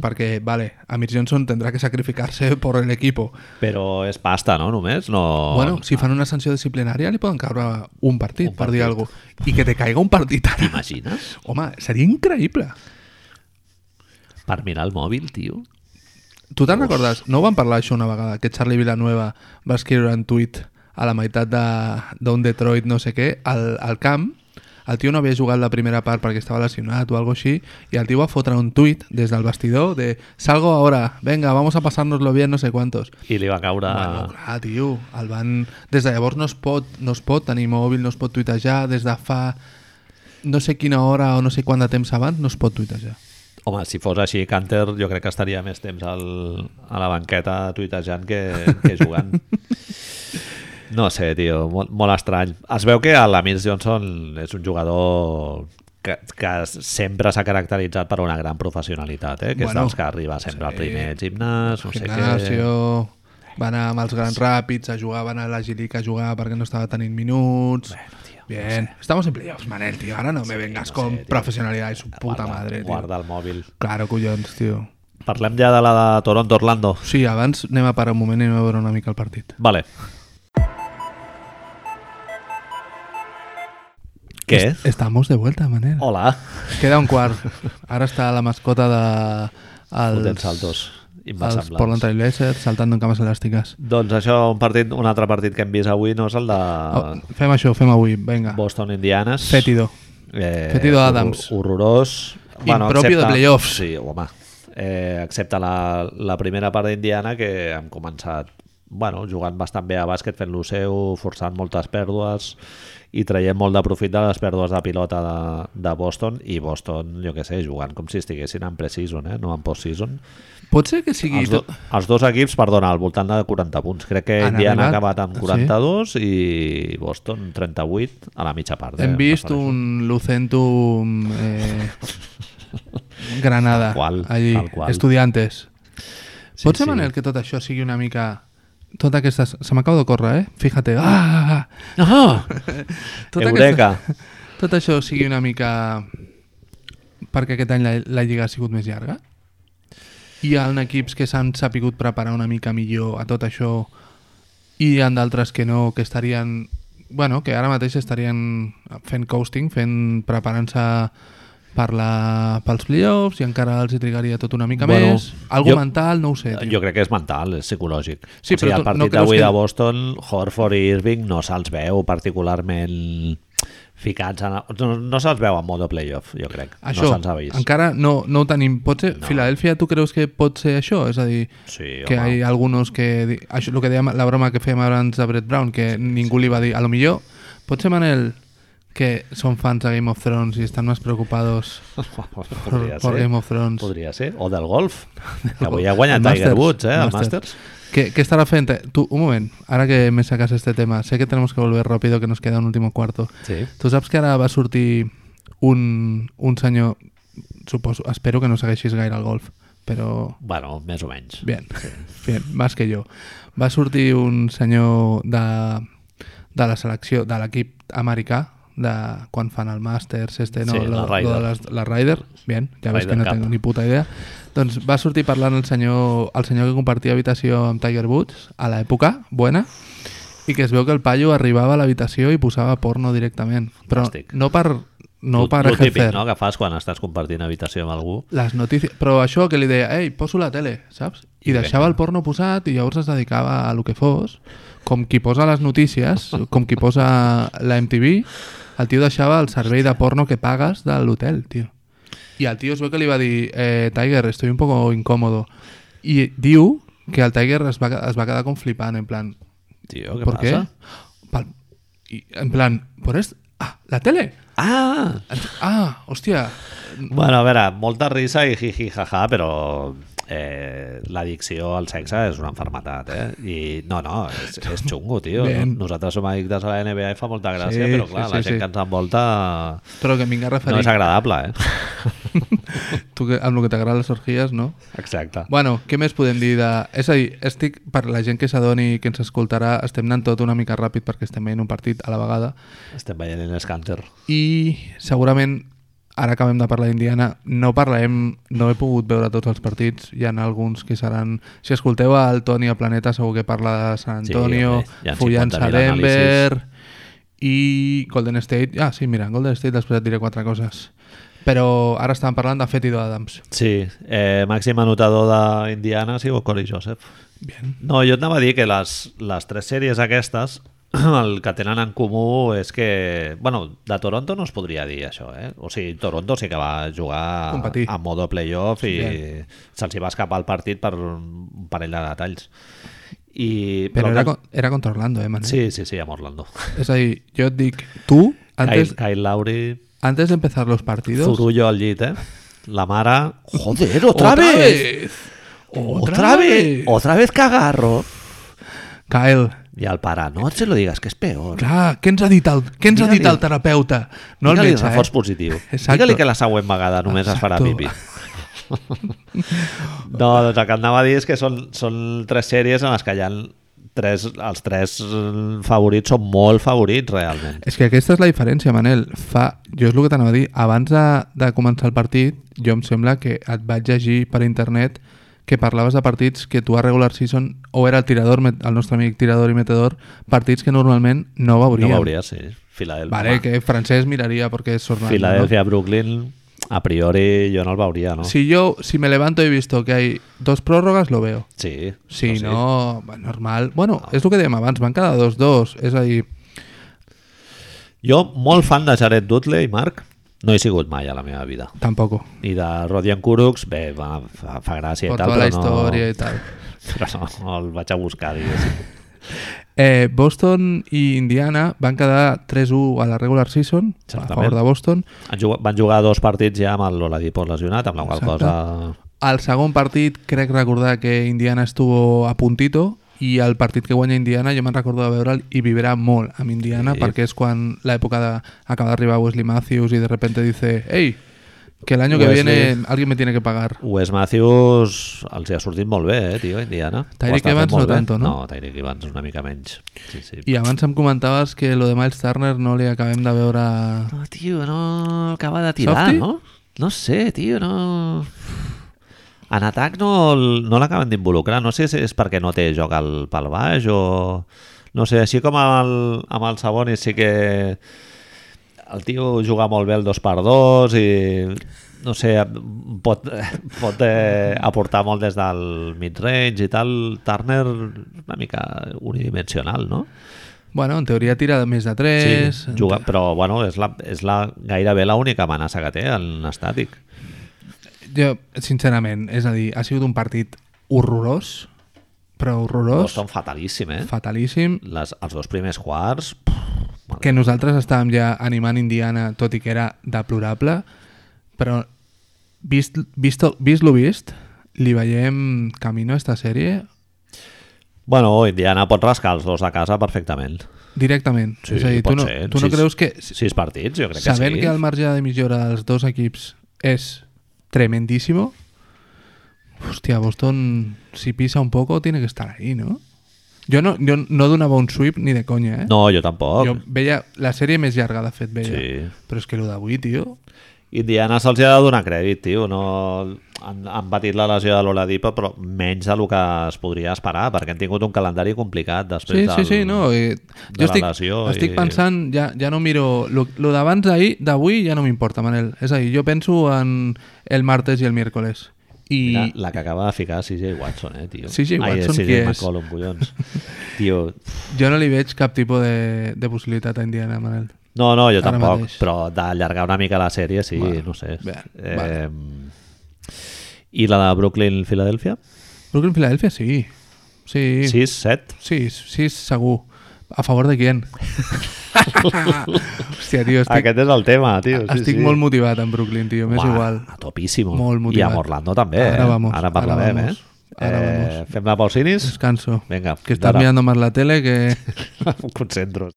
[SPEAKER 2] Perquè, vale, Amir Johnson tendrá que sacrificarse [LAUGHS] por el equipo.
[SPEAKER 1] Però és pasta, no? Només? No...
[SPEAKER 2] Bueno, si fan una sanció disciplinària li poden caure un partit,
[SPEAKER 1] Un
[SPEAKER 2] un partit. per dir
[SPEAKER 1] partit.
[SPEAKER 2] alguna cosa. I que te caiga un partit ara.
[SPEAKER 1] T'imagines?
[SPEAKER 2] Home, seria increïble.
[SPEAKER 1] Per mirar el mòbil, tio.
[SPEAKER 2] Tu te'n recordes? No ho vam parlar això una vegada, que Charlie Villanueva va escriure en tuit a la meitat de- d'un de, Detroit no sé què, al, al camp, el tio no havia jugat la primera part perquè estava lesionat o algo així, i el tio va fotre un tuit des del vestidor de salgo ahora, venga, vamos a pasárnoslo bien no sé cuántos.
[SPEAKER 1] I li va caure...
[SPEAKER 2] Bueno, clar, tio, el van... Des de llavors no es pot, no es pot tenir mòbil, no es pot tuitejar, des de fa no sé quina hora o no sé quant de temps abans no es pot tuitejar.
[SPEAKER 1] Home, si fos així, Canter jo crec que estaria més temps al, a la banqueta tuitejant que, que jugant. No sé, tio, molt, molt estrany. Es veu que l'Amir Johnson és un jugador que, que sempre s'ha caracteritzat per una gran professionalitat, eh? que bueno,
[SPEAKER 2] Bueno,
[SPEAKER 1] és dels que arriba sempre sí. al primer al gimnàs, no sé què...
[SPEAKER 2] Gimnàsio, va anar amb els grans ràpids a jugar, va anar a la Gilica a jugar perquè no estava tenint minuts...
[SPEAKER 1] Bueno, tio,
[SPEAKER 2] Bien, estamos en playoffs, Manel, tío. Ahora no me vengas con profesionalidad y su puta madre, tío.
[SPEAKER 1] Guarda el mòbil.
[SPEAKER 2] Claro, collons, tío.
[SPEAKER 1] Parlem ja de la de Toronto-Orlando.
[SPEAKER 2] Sí, abans anem a parar un moment i anem a veure una mica el partit.
[SPEAKER 1] Vale. Què?
[SPEAKER 2] Estamos de vuelta, Manel.
[SPEAKER 1] Hola.
[SPEAKER 2] Queda un quart. Ara està la mascota de...
[SPEAKER 1] Fotent
[SPEAKER 2] Els,
[SPEAKER 1] saltos
[SPEAKER 2] els
[SPEAKER 1] inversemblants.
[SPEAKER 2] Portland Trail Blazers saltant en cames elàstiques.
[SPEAKER 1] Doncs això, un, partit, un altre partit que hem vist avui no és el de
[SPEAKER 2] Oh, fem això, fem avui, vinga.
[SPEAKER 1] Boston Indianes.
[SPEAKER 2] Fetido.
[SPEAKER 1] Eh,
[SPEAKER 2] Fetido
[SPEAKER 1] horror-
[SPEAKER 2] Adams.
[SPEAKER 1] Horrorós.
[SPEAKER 2] Impropi de playoffs.
[SPEAKER 1] Sí, home. Eh, excepte la, la primera part d'Indiana que hem començat bueno, jugant bastant bé a bàsquet, fent lo seu, forçant moltes pèrdues i traient molt de profit de les pèrdues de pilota de, de Boston i Boston, jo que sé, jugant com si estiguessin en pre-season, eh? no en post-season.
[SPEAKER 2] Pot ser que sigui...
[SPEAKER 1] Els, do, els dos equips, perdona, al voltant de 40 punts. Crec que
[SPEAKER 2] Han
[SPEAKER 1] Indiana ha
[SPEAKER 2] arribat,
[SPEAKER 1] acabat amb
[SPEAKER 2] sí.
[SPEAKER 1] 42 sí. i Boston 38 a la mitja part. eh,
[SPEAKER 2] Hem
[SPEAKER 1] em
[SPEAKER 2] vist
[SPEAKER 1] refereixo.
[SPEAKER 2] un Lucentum eh, Granada
[SPEAKER 1] Tal qual,
[SPEAKER 2] allí,
[SPEAKER 1] tal qual.
[SPEAKER 2] estudiantes.
[SPEAKER 1] Sí,
[SPEAKER 2] Pot ser,
[SPEAKER 1] sí.
[SPEAKER 2] Manel, que tot això sigui una mica... Tot aquesta... Se m'acaba de córrer, eh? Fíjate. Ah!
[SPEAKER 1] No!
[SPEAKER 2] Tot
[SPEAKER 1] Eureka!
[SPEAKER 2] Aquesta, tot això sigui una mica... Perquè aquest any la, la Lliga ha sigut més llarga? hi ha equips que s'han sapigut preparar una mica millor a tot això i hi ha d'altres que no, que estarien... bueno, que ara mateix estarien fent coasting, fent preparant-se per la, pels playoffs i encara els hi trigaria tot una mica
[SPEAKER 1] Bueno,
[SPEAKER 2] bueno, més. Algo
[SPEAKER 1] jo-
[SPEAKER 2] jo, mental, no ho sé. Tio.
[SPEAKER 1] Jo crec que és mental, és psicològic.
[SPEAKER 2] Sí,
[SPEAKER 1] o sigui,
[SPEAKER 2] però
[SPEAKER 1] el
[SPEAKER 2] tu- no
[SPEAKER 1] partit
[SPEAKER 2] creus
[SPEAKER 1] d'avui
[SPEAKER 2] que-
[SPEAKER 1] de Boston, Horford i Irving no se'ls veu particularment ficats en... No, no se'ls veu en mode playoff, jo crec.
[SPEAKER 2] Això,
[SPEAKER 1] no se'ls ha vist.
[SPEAKER 2] encara no, no ho tenim. Potser, no. Filadèlfia, tu creus que pot ser això? És a dir,
[SPEAKER 1] Sí,
[SPEAKER 2] que
[SPEAKER 1] home.
[SPEAKER 2] hay algunos que... di- Això, el que dèiem, la broma que fèiem abans de Brett Brown, que ningú li va dir, a lo millor, pot ser Manel que són fans de Game of Thrones i estan més preocupados
[SPEAKER 1] [LAUGHS] Podria
[SPEAKER 2] por
[SPEAKER 1] ser.
[SPEAKER 2] Game of Thrones.
[SPEAKER 1] Podria ser. O del golf. Que avui ha guanyat
[SPEAKER 2] El
[SPEAKER 1] Tiger
[SPEAKER 2] Masters,
[SPEAKER 1] Woods, eh,
[SPEAKER 2] el
[SPEAKER 1] el
[SPEAKER 2] Masters.
[SPEAKER 1] Masters.
[SPEAKER 2] ¿Qué, qué estará frente? Tú, un momento, ahora que me sacas este tema, sé que tenemos que volver rápido, que nos queda un último cuarto.
[SPEAKER 1] Sí.
[SPEAKER 2] Tu saps que ara va sortir un, un senyor... Suposo, espero que no segueixis gaire al golf, però...
[SPEAKER 1] Bueno, més o menys.
[SPEAKER 2] Bien, bien, más que jo. Va sortir un senyor de, de la selecció, de l'equip americà, de quan fan el Masters, este, no,
[SPEAKER 1] Sí, la
[SPEAKER 2] lo- lo
[SPEAKER 1] Ryder.
[SPEAKER 2] de les, la Ryder, bien, ja ves
[SPEAKER 1] Ryder
[SPEAKER 2] que no
[SPEAKER 1] Cup.
[SPEAKER 2] tengo ni puta idea. Doncs va sortir parlant el senyor, el senyor que compartia habitació amb Tiger Woods a l'època, buena, i que es veu que el paio arribava a l'habitació i posava porno directament. Però
[SPEAKER 1] Fantàstic.
[SPEAKER 2] no per, no
[SPEAKER 1] Lo-
[SPEAKER 2] per
[SPEAKER 1] lo típic,
[SPEAKER 2] ejercer.
[SPEAKER 1] no?, que fas quan estàs compartint habitació amb algú.
[SPEAKER 2] les notícies... Però això que li deia, ei, poso la tele, saps? I
[SPEAKER 1] I
[SPEAKER 2] deixava el porno posat i llavors es dedicava a lo que fos, com qui posa les notícies, com qui posa la MTV, el tio deixava el servei de porno que pagues de l'hotel, tio. I el tio es veu que li va dir, eh, Tiger, estoy un poco incómodo. I diu que el Tiger es va, es va quedar com flipant, en plan,
[SPEAKER 1] Tio, què
[SPEAKER 2] ¿por qué?
[SPEAKER 1] passa?
[SPEAKER 2] Pel- I, en plan, por esto... Ah, la tele!
[SPEAKER 1] Ah!
[SPEAKER 2] Ah, hòstia,
[SPEAKER 1] Bueno, a veure, molta risa i jiji jaja, però eh, l'addicció al sexe és una enfermetat, eh? I no, no, és, és xungo, tio.
[SPEAKER 2] Ben.
[SPEAKER 1] Nosaltres som addictes a la NBA i fa molta gràcia,
[SPEAKER 2] Sí,
[SPEAKER 1] però clar,
[SPEAKER 2] sí,
[SPEAKER 1] la
[SPEAKER 2] sí,
[SPEAKER 1] gent
[SPEAKER 2] sí.
[SPEAKER 1] que ens envolta
[SPEAKER 2] però que em vinc a referir.
[SPEAKER 1] no és agradable,
[SPEAKER 2] [LAUGHS]
[SPEAKER 1] eh?
[SPEAKER 2] tu que, amb el que t'agraden les orgies, no?
[SPEAKER 1] Exacte.
[SPEAKER 2] Bueno, què més podem dir de... És a dir, estic, per la gent que s'adoni i que ens escoltarà, estem anant tot una mica ràpid perquè estem veient un partit a la vegada
[SPEAKER 1] Estem veient en Scanter.
[SPEAKER 2] i segurament ara acabem de parlar d'Indiana no parlarem, no he pogut veure tots els partits hi ha alguns que seran si escolteu el Toni a Planeta segur que parla de San
[SPEAKER 1] Sí,
[SPEAKER 2] Antonio
[SPEAKER 1] home, hi ha
[SPEAKER 2] follant-se a
[SPEAKER 1] 50.000
[SPEAKER 2] Denver i Golden State ah sí, mira, Golden State després et diré quatre coses però ara estàvem parlant de Fetido Adams
[SPEAKER 1] Sí, eh, màxim anotador d'Indiana ha sigut Corey Joseph.
[SPEAKER 2] Bien.
[SPEAKER 1] No, jo et anava a dir que les, les tres sèries aquestes [CLEARS THROAT] el que tenen en comú és que... bueno, de Toronto no es podria dir això, eh? O sigui, Toronto sí que va jugar
[SPEAKER 2] Competir.
[SPEAKER 1] a modo playoff i
[SPEAKER 2] Bien.
[SPEAKER 1] se'ls hi va escapar el partit per un parell de detalls. I,
[SPEAKER 2] Però
[SPEAKER 1] el
[SPEAKER 2] era,
[SPEAKER 1] que-
[SPEAKER 2] con- era contra Orlando, eh, Manel?
[SPEAKER 1] Sí, sí, sí, amb Orlando.
[SPEAKER 2] És a dir, jo et dic, tu, antes,
[SPEAKER 1] Antes... Kyle, Kyle Lowry,
[SPEAKER 2] antes de empezar los partidos...
[SPEAKER 1] zurullo al llit, eh? La mare... Joder,
[SPEAKER 2] ¡Otra vez!
[SPEAKER 1] ¡Otra vez! ¡Otra vez cagarro!
[SPEAKER 2] Kyle,
[SPEAKER 1] I el pare, no se lo digas, que és peor.
[SPEAKER 2] clar, què ens ha dit el, què ens ha dit
[SPEAKER 1] Digue-li-
[SPEAKER 2] el terapeuta? No el
[SPEAKER 1] Digue-li
[SPEAKER 2] metge,
[SPEAKER 1] reforç
[SPEAKER 2] eh?
[SPEAKER 1] positiu.
[SPEAKER 2] [LAUGHS] Exacto.
[SPEAKER 1] Digue-li que la següent vegada només es farà
[SPEAKER 2] Exacto.
[SPEAKER 1] pipi. [LAUGHS] No, doncs el que anava a dir és que són, són tres sèries en les que hi ha tres, els tres eh, favorits són molt favorits realment.
[SPEAKER 2] És que aquesta és la diferència, Manel. Fa, jo és el que t'anava a dir. Abans de, de començar el partit, jo em sembla que et vaig llegir per internet que parlaves de partits que tu a regular season o era el tirador, met- el nostre amic tirador i metedor, partits que normalment no veuríem.
[SPEAKER 1] No veuria, sí. Filadelfia.
[SPEAKER 2] Vale, que francés miraría porque es Orlando.
[SPEAKER 1] Filadelfia, Brooklyn, a priori jo no el veuria, no?
[SPEAKER 2] ¿no? Si yo, si me levanto y he visto que hay dos prórrogas, lo veo.
[SPEAKER 1] Sí.
[SPEAKER 2] Si no, va, normal. Bueno, es lo que dèiem abans, van cada dos, dos. Es ahí.
[SPEAKER 1] Jo, molt fan de Jared Dudley, Marc, no he sigut mai a la meva vida.
[SPEAKER 2] Tampoco.
[SPEAKER 1] I de Rodian Kuruks, bé, va, fa, fa gràcia i
[SPEAKER 2] por
[SPEAKER 1] tal,
[SPEAKER 2] toda
[SPEAKER 1] però
[SPEAKER 2] la
[SPEAKER 1] no...
[SPEAKER 2] historia y tal.
[SPEAKER 1] [LAUGHS] Però no, no el vaig a buscar, diguéssim.
[SPEAKER 2] Eh, Boston y Indiana van cada 3-1 a la regular season, a
[SPEAKER 1] Certament.
[SPEAKER 2] favor de Boston.
[SPEAKER 1] Han jugat, van jugar dos partits ja amb l'Oladipo lesionat, amb la qual
[SPEAKER 2] Exacte.
[SPEAKER 1] cosa...
[SPEAKER 2] Al segon partit crec recordar que Indiana estuvo a puntito i el partit que guanya Indiana jo me'n recordo de veure'l i vibrar molt amb Indiana
[SPEAKER 1] Sí.
[SPEAKER 2] sí. perquè és quan l'època de acaba d'arribar Wesley Matthews i de repente dice ei, que el año que
[SPEAKER 1] Wesley.
[SPEAKER 2] viene alguien me tiene que pagar
[SPEAKER 1] Wes Matthews els hi ha sortit molt bé, eh, tio, Indiana. Ho
[SPEAKER 2] Tyreek
[SPEAKER 1] està fent
[SPEAKER 2] Evans
[SPEAKER 1] molt
[SPEAKER 2] no
[SPEAKER 1] bé.
[SPEAKER 2] tanto, no?
[SPEAKER 1] No, Tyreek Evans una mica menys. Sí, sí.
[SPEAKER 2] i abans em comentaves que lo de Miles Turner no li acabem de veure
[SPEAKER 1] No, tio, no acaba de
[SPEAKER 2] tirar, Softy?
[SPEAKER 1] no? No sé, tio, no... En atac no, el- no l'acaben d'involucrar. No sé si és perquè no té joc al, pel baix o... No sé, així com amb el, amb el Sabonis sí que el tio juga molt bé el 2x2 i no sé, pot, pot eh, aportar molt des del mid-range i tal. Turner una mica unidimensional, no?
[SPEAKER 2] Bueno, en teoria tira de més de 3.
[SPEAKER 1] Sí, juga, però bueno, és, la, és la, gairebé l'única amenaça que té en estàtic.
[SPEAKER 2] Jo, sincerament, és a dir, ha sigut un partit horrorós, però horrorós,
[SPEAKER 1] Boston fatalíssim, eh?
[SPEAKER 2] fatalíssim,
[SPEAKER 1] Les, els dos primers quarts... pff, madre
[SPEAKER 2] que nosaltres estàvem ja animant Indiana, tot i que era deplorable, però vist, vist, vist lo vist, li veiem camino a esta sèrie
[SPEAKER 1] Bueno, Indiana pot rascar els dos a casa perfectament.
[SPEAKER 2] directament.
[SPEAKER 1] Sí,
[SPEAKER 2] és a dir, tu
[SPEAKER 1] pot
[SPEAKER 2] no,
[SPEAKER 1] ser.
[SPEAKER 2] tu no
[SPEAKER 1] Sis-
[SPEAKER 2] creus que,
[SPEAKER 1] Sis partits, jo crec que
[SPEAKER 2] sabent
[SPEAKER 1] sí.
[SPEAKER 2] que el marge de millora dels dos equips és tremendísimo, hòstia, Boston, si pisa un poco, tiene que estar ahí, ¿no? Jo no, jo no donava un sweep ni de conya, eh?
[SPEAKER 1] No, jo tampoc.
[SPEAKER 2] Jo veia la sèrie més llarga, de fet, veia.
[SPEAKER 1] Sí.
[SPEAKER 2] Però és que el d'avui, tio...
[SPEAKER 1] Indiana se'ls ha de donar crèdit, tio. No... Han, han patit la lesió de l'Oladipa, però menys del que es podria esperar, perquè han tingut un calendari complicat després
[SPEAKER 2] Sí,
[SPEAKER 1] del...
[SPEAKER 2] sí, sí, no. Eh,
[SPEAKER 1] de la
[SPEAKER 2] jo estic,
[SPEAKER 1] lesió
[SPEAKER 2] estic
[SPEAKER 1] i-
[SPEAKER 2] pensant, ja, ja no miro... Lo, lo d'abans d'ahir, d'avui, ja no m'importa, Manel. És a dir, jo penso en el martes i el miércoles. I...
[SPEAKER 1] Mira, la que acaba de ficar CJ Watson, eh, tio.
[SPEAKER 2] CJ Watson,
[SPEAKER 1] Ai,
[SPEAKER 2] qui és?
[SPEAKER 1] McCollum,
[SPEAKER 2] [LAUGHS]
[SPEAKER 1] collons. tio,
[SPEAKER 2] Jo no li veig cap tipus de, de possibilitat a Indiana, Manel.
[SPEAKER 1] No, no, jo
[SPEAKER 2] Ara
[SPEAKER 1] tampoc,
[SPEAKER 2] mateix.
[SPEAKER 1] però d'allargar una mica la sèrie, sí,
[SPEAKER 2] Bueno,
[SPEAKER 1] no sé.
[SPEAKER 2] bé,
[SPEAKER 1] eh,
[SPEAKER 2] vale.
[SPEAKER 1] I la de Brooklyn-Filadèlfia?
[SPEAKER 2] Brooklyn Filadèlfia, sí. Sí, sí.
[SPEAKER 1] 6, 7?
[SPEAKER 2] sí, sí, segur. A favor de
[SPEAKER 1] [LAUGHS]
[SPEAKER 2] quién? Hòstia, tio, estic,
[SPEAKER 1] Aquest és el tema, tio. Sí,
[SPEAKER 2] estic
[SPEAKER 1] sí.
[SPEAKER 2] molt motivat en Brooklyn, tio, m'és
[SPEAKER 1] Uah,
[SPEAKER 2] igual.
[SPEAKER 1] A topíssim.
[SPEAKER 2] Molt
[SPEAKER 1] I
[SPEAKER 2] motivat.
[SPEAKER 1] amb Orlando també,
[SPEAKER 2] Ara
[SPEAKER 1] eh?
[SPEAKER 2] vamos,
[SPEAKER 1] Ara
[SPEAKER 2] ara
[SPEAKER 1] parlarem,
[SPEAKER 2] vamos,
[SPEAKER 1] eh?
[SPEAKER 2] ara
[SPEAKER 1] eh
[SPEAKER 2] vamos.
[SPEAKER 1] Fem la pausinis? [LAUGHS]
[SPEAKER 2] Descanso.
[SPEAKER 1] Vinga,
[SPEAKER 2] que estàs
[SPEAKER 1] d'ara.
[SPEAKER 2] mirando más la tele
[SPEAKER 1] [LAUGHS]
[SPEAKER 2] que...
[SPEAKER 1] Em concentro.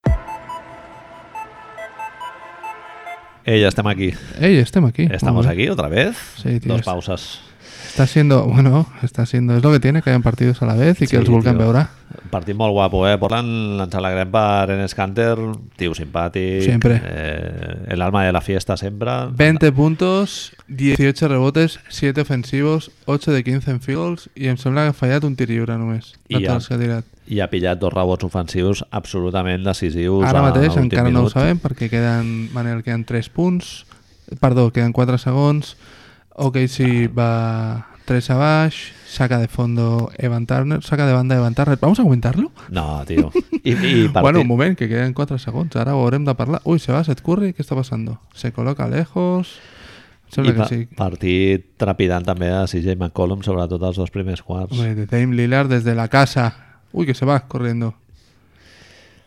[SPEAKER 1] Ei, ja estem aquí.
[SPEAKER 2] Ey, estem aquí.
[SPEAKER 1] Estamos
[SPEAKER 2] Molt bé.
[SPEAKER 1] aquí otra vez.
[SPEAKER 2] Sí, tio,
[SPEAKER 1] Dos
[SPEAKER 2] és-
[SPEAKER 1] pausas.
[SPEAKER 2] Está siendo, bueno, está siendo, es lo que tiene que hayan partidos a la vez y que
[SPEAKER 1] Sí,
[SPEAKER 2] els vulguen
[SPEAKER 1] tio.
[SPEAKER 2] veure.
[SPEAKER 1] Partit molt guapo, eh? Portland, ens alegrem per Enes Kanter, tio simpàtic.
[SPEAKER 2] Sempre.
[SPEAKER 1] Eh, el alma de la fiesta sempre.
[SPEAKER 2] 20 puntos, 18 rebotes, 7 ofensivos, 8 de 15 en fields i em sembla que ha fallat un tir lliure només.
[SPEAKER 1] I
[SPEAKER 2] I
[SPEAKER 1] ja.
[SPEAKER 2] ja. que ha tirat.
[SPEAKER 1] I ha pillat dos rebots ofensius absolutament decisius.
[SPEAKER 2] Ara
[SPEAKER 1] a
[SPEAKER 2] mateix
[SPEAKER 1] l'últim
[SPEAKER 2] encara no ho
[SPEAKER 1] minut.
[SPEAKER 2] sabem perquè queden, Manel, queden 3 punts, perdó, queden 4 segons, OKC va 3 a baix, saca de fondo Evan Turner, saca de banda Evan Turner. Vamos a comentarlo?
[SPEAKER 1] No, tio. I,
[SPEAKER 2] [LAUGHS]
[SPEAKER 1] i partit,
[SPEAKER 2] Bueno, un moment, que queden 4 segons, ara ho haurem de parlar. Ui, se va Seth Curry, què està passant? Se col·loca lejos... Em
[SPEAKER 1] i
[SPEAKER 2] Sembla
[SPEAKER 1] pa
[SPEAKER 2] que sí.
[SPEAKER 1] partit trepidant també de CJ McCollum, sobretot els dos primers quarts.
[SPEAKER 2] Hombre, de Dame Lillard desde la casa. Uy, que se va corriendo.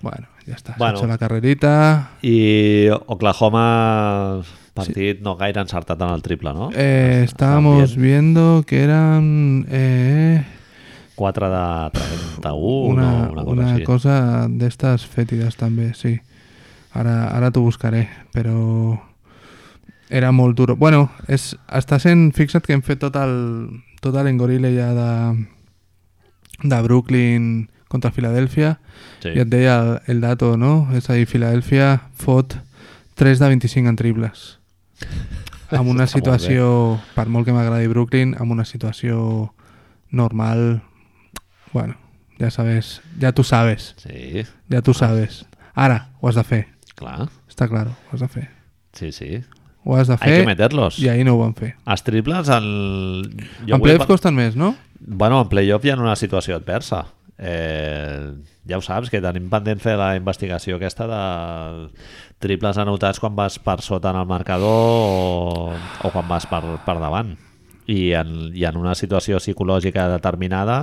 [SPEAKER 2] Bueno, ya está. Se ha
[SPEAKER 1] Bueno.
[SPEAKER 2] hecho la carrerita.
[SPEAKER 1] I Oklahoma, partit no gaire encertat en el triple, no?
[SPEAKER 2] Eh, estábamos viendo que eran eh,
[SPEAKER 1] 4 de 31,
[SPEAKER 2] una,
[SPEAKER 1] Uh, no, una cosa ¿eh?
[SPEAKER 2] una
[SPEAKER 1] així.
[SPEAKER 2] cosa de estas fétidas también, sí. Ahora, ahora tú buscaré, pero era molt duro. Bueno, és, està sent, fixa't que hem fet tot el, tot l'engorile ja de, de Brooklyn contra Filadèlfia.
[SPEAKER 1] Sí.
[SPEAKER 2] I et deia el, el dato, no? És a dir, Filadèlfia fot 3 de 25 en triples.
[SPEAKER 1] [LAUGHS] Està
[SPEAKER 2] Amb una
[SPEAKER 1] molt bé.
[SPEAKER 2] situació, per molt que m'agradi Brooklyn, amb una situació normal... Bueno, ja sabes, ja tu sabes,
[SPEAKER 1] Sí,
[SPEAKER 2] ja tu sabes. Ara, ho has de fer,
[SPEAKER 1] clar.
[SPEAKER 2] està claro, ho has de fer.
[SPEAKER 1] Sí, sí.
[SPEAKER 2] Ho has de
[SPEAKER 1] Hay que
[SPEAKER 2] fer
[SPEAKER 1] meterlos.
[SPEAKER 2] i ahir no ho van fer.
[SPEAKER 1] Els triples, el...
[SPEAKER 2] Jo en
[SPEAKER 1] vull
[SPEAKER 2] playoff costen més, no?
[SPEAKER 1] Bueno, en playoff hi ha una situació adversa. Eh, ja ho saps, que tenim pendent fer la investigació aquesta de triples anotats quan vas per sota en el marcador o, o quan vas per, per davant. I en, I en una situació psicològica determinada,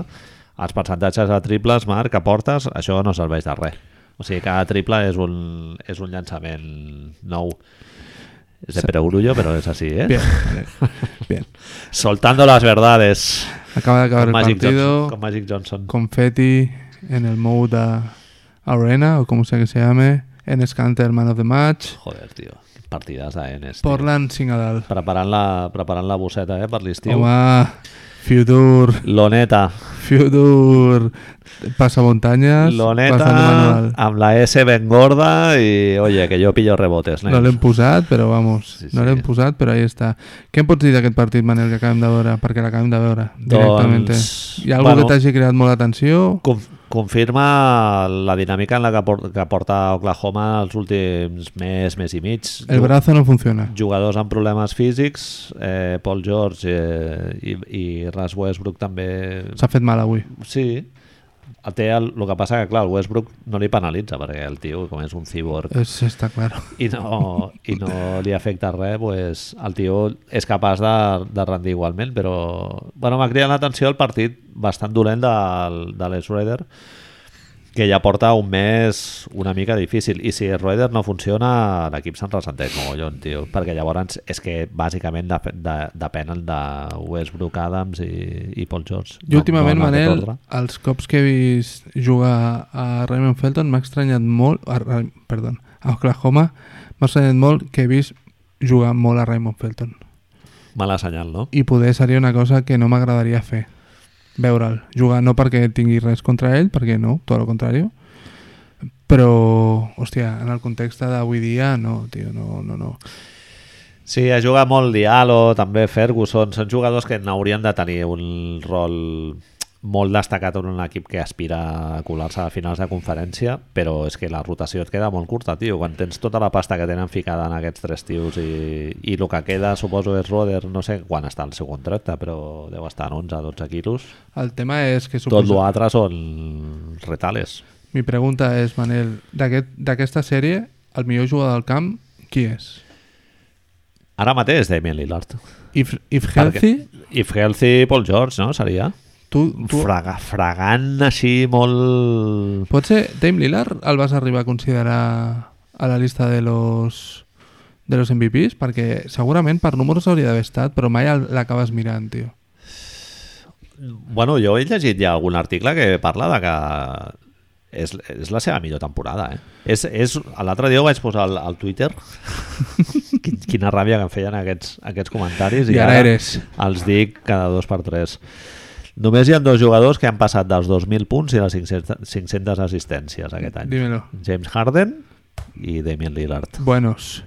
[SPEAKER 1] els percentatges de triples, Marc, que portes, això no serveix de res. O sigui, cada triple és un, és un llançament nou. És de Pere Urullo, però és així, eh?
[SPEAKER 2] Bien, vale. bien.
[SPEAKER 1] Soltando las verdades.
[SPEAKER 2] Acaba d'acabar
[SPEAKER 1] Con
[SPEAKER 2] el
[SPEAKER 1] Magic,
[SPEAKER 2] partido.
[SPEAKER 1] Johnson, con Magic Johnson.
[SPEAKER 2] confetti en el Mouda Arena, o como sea que se llame, en Scanter Man of the Match,
[SPEAKER 1] Joder, tio. Partides d'Enes.
[SPEAKER 2] Portland Singadal.
[SPEAKER 1] Preparant la, preparant la bosseta eh, per l'estiu.
[SPEAKER 2] Home, Futur,
[SPEAKER 1] Loneta.
[SPEAKER 2] futur passamuntanyes, bastant
[SPEAKER 1] Loneta
[SPEAKER 2] manual.
[SPEAKER 1] amb la S ben gorda i, oye, que jo pillo rebotes, nens.
[SPEAKER 2] No l'hem posat, però vamos,
[SPEAKER 1] Ah. Sí,
[SPEAKER 2] sí, sí. no
[SPEAKER 1] sí.
[SPEAKER 2] l'hem posat, però ahí està. Què em pots dir d'aquest partit, Manel, que acabem de veure? Perquè l'acabem de veure, directament. eh?
[SPEAKER 1] Doncs,
[SPEAKER 2] Hi ha algú
[SPEAKER 1] bueno.
[SPEAKER 2] que t'hagi creat molt atenció?
[SPEAKER 1] Conf- confirma la dinàmica en la que, por que porta Oklahoma els últims mes, mes i mig.
[SPEAKER 2] El
[SPEAKER 1] Ju-
[SPEAKER 2] brazo no funciona.
[SPEAKER 1] Jugadors amb problemes físics, eh, Paul George eh, i, i Ras Westbrook també...
[SPEAKER 2] S'ha fet mal avui.
[SPEAKER 1] Sí, té el, el que passa que, clar, el Westbrook no li penalitza, perquè el tio, com és un cyborg
[SPEAKER 2] És, està clar.
[SPEAKER 1] i no, i no li afecta res, pues, el tio és capaç de, de rendir igualment, però bueno, m'ha cridat l'atenció el partit bastant dolent del, de l'Es Raider, que ja porta un mes una mica difícil. I si Raider no funciona, l'equip se'n ressenteix mogollon, tio. Perquè llavors és que bàsicament de, de, depenen de Westbrook, Adams i, i Paul George.
[SPEAKER 2] Jo últimament,
[SPEAKER 1] en aquest
[SPEAKER 2] Manel,
[SPEAKER 1] ordre.
[SPEAKER 2] els cops que he vist jugar a Raymond Felton m'ha estranyat molt... A, a, perdó, a Oklahoma m'ha estranyat molt que he vist jugar molt a Raymond Felton.
[SPEAKER 1] Mala senyal, no?
[SPEAKER 2] I poder seria una cosa que no m'agradaria fer. Veure'l jugar, no perquè tingui res contra ell, perquè no, tot el contrari. Però, hòstia, en el context d'avui dia, no, tio, no, no, no.
[SPEAKER 1] Sí, ha jugat molt Diallo, també Ferguson, són jugadors que n'haurien de tenir un rol molt destacat en un equip que aspira a colar-se a finals de conferència, però és que la rotació et queda molt curta, tio. Quan tens tota la pasta que tenen ficada en aquests tres tios i, i el que queda, suposo, és Roder, no sé quan està el seu contracte, però deu estar en 11-12 quilos.
[SPEAKER 2] El tema és que
[SPEAKER 1] Tot
[SPEAKER 2] suposo...
[SPEAKER 1] l'altre són retales.
[SPEAKER 2] Mi pregunta és, Manel, d'aquest- d'aquesta sèrie, el millor jugador del camp, qui és?
[SPEAKER 1] Ara mateix, Damien Lillard.
[SPEAKER 2] If, if
[SPEAKER 1] Perquè-
[SPEAKER 2] healthy,
[SPEAKER 1] If healthy, Paul George, no? Seria?
[SPEAKER 2] tu, tu
[SPEAKER 1] Fraga, fragant així molt...
[SPEAKER 2] potser Dame Lillard el vas arribar a considerar a la llista de los de los MVPs perquè segurament per números hauria d'haver estat però mai el- l'acabes mirant, tio.
[SPEAKER 1] Bueno, jo he llegit ja algun article que parla de que és, és la seva millor temporada, eh? És, és, L'altre dia ho vaig posar al, al
[SPEAKER 2] [LAUGHS]
[SPEAKER 1] Twitter. Quin- Quina ràbia que em feien aquests, aquests comentaris.
[SPEAKER 2] I ara eres.
[SPEAKER 1] Els dic cada dos per tres. Només hi ha dos jugadors que han passat dels 2.000 punts i les 500, 500 assistències aquest any.
[SPEAKER 2] Dímelo.
[SPEAKER 1] James Harden i Damien Lillard.
[SPEAKER 2] Buenos.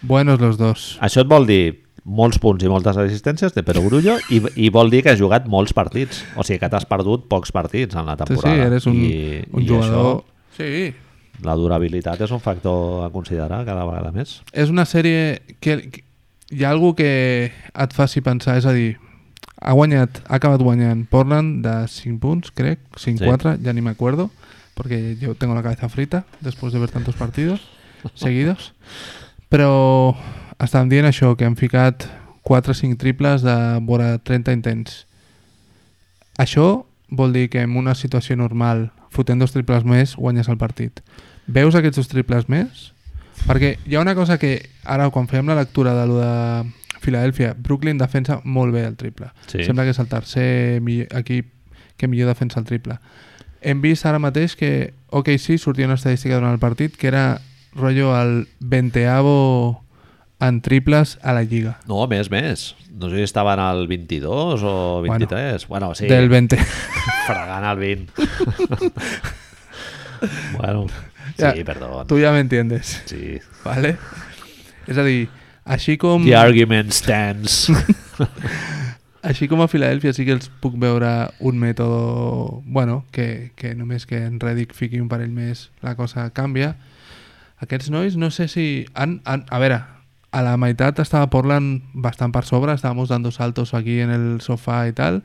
[SPEAKER 2] Buenos los dos.
[SPEAKER 1] Això et vol dir molts punts i moltes assistències de Pere Grullo i, i vol dir que has jugat molts partits. O sigui que t'has perdut pocs partits en la
[SPEAKER 2] Sí, sí,
[SPEAKER 1] temporada.
[SPEAKER 2] eres un,
[SPEAKER 1] I,
[SPEAKER 2] un
[SPEAKER 1] i
[SPEAKER 2] jugador... Sí.
[SPEAKER 1] Això, la durabilitat és un factor a considerar cada vegada més.
[SPEAKER 2] És una sèrie que, que hi ha algú que et faci pensar, és a dir, ha guanyat, ha acabat guanyant Portland de 5 punts, crec,
[SPEAKER 1] Sí.
[SPEAKER 2] 5-4, ja ni me acuerdo, porque yo tengo la cabeza frita después de ver tantos partidos seguidos. Però estan dient això, que han ficat 4-5 triples de vora 30 intents. Això vol dir que en una situació normal, fotent dos triples més, guanyes el partit. Veus aquests dos triples més? Perquè hi ha una cosa que ara quan fèiem la lectura de lo de Filadèlfia, Brooklyn defensa molt bé el triple.
[SPEAKER 1] Sí.
[SPEAKER 2] Sembla que és el tercer millor, equip que millor defensa el triple. Hem vist ara mateix que OKC sí, sortia una estadística durant el partit que era rotllo el 20 en triples a la lliga.
[SPEAKER 1] No, més, més. No sé si estaven al 22 o 23. Bueno, bueno sí,
[SPEAKER 2] Sí. Del 20.
[SPEAKER 1] fregant al 20. [LAUGHS] bueno, sí,
[SPEAKER 2] Ja,
[SPEAKER 1] perdó.
[SPEAKER 2] [LAUGHS] Tu ja m'entiendes,
[SPEAKER 1] Sí.
[SPEAKER 2] vale? És a dir, així com...
[SPEAKER 1] The argument stands.
[SPEAKER 2] Així com a Filadèlfia sí que els puc veure un mètode... Bueno, que, que només que en Reddick fiqui un parell més la cosa canvia. Aquests nois no sé si... Han, han, a veure, a la meitat estava Portland bastant per sobre, estábamos dando saltos aquí en el sofá y tal.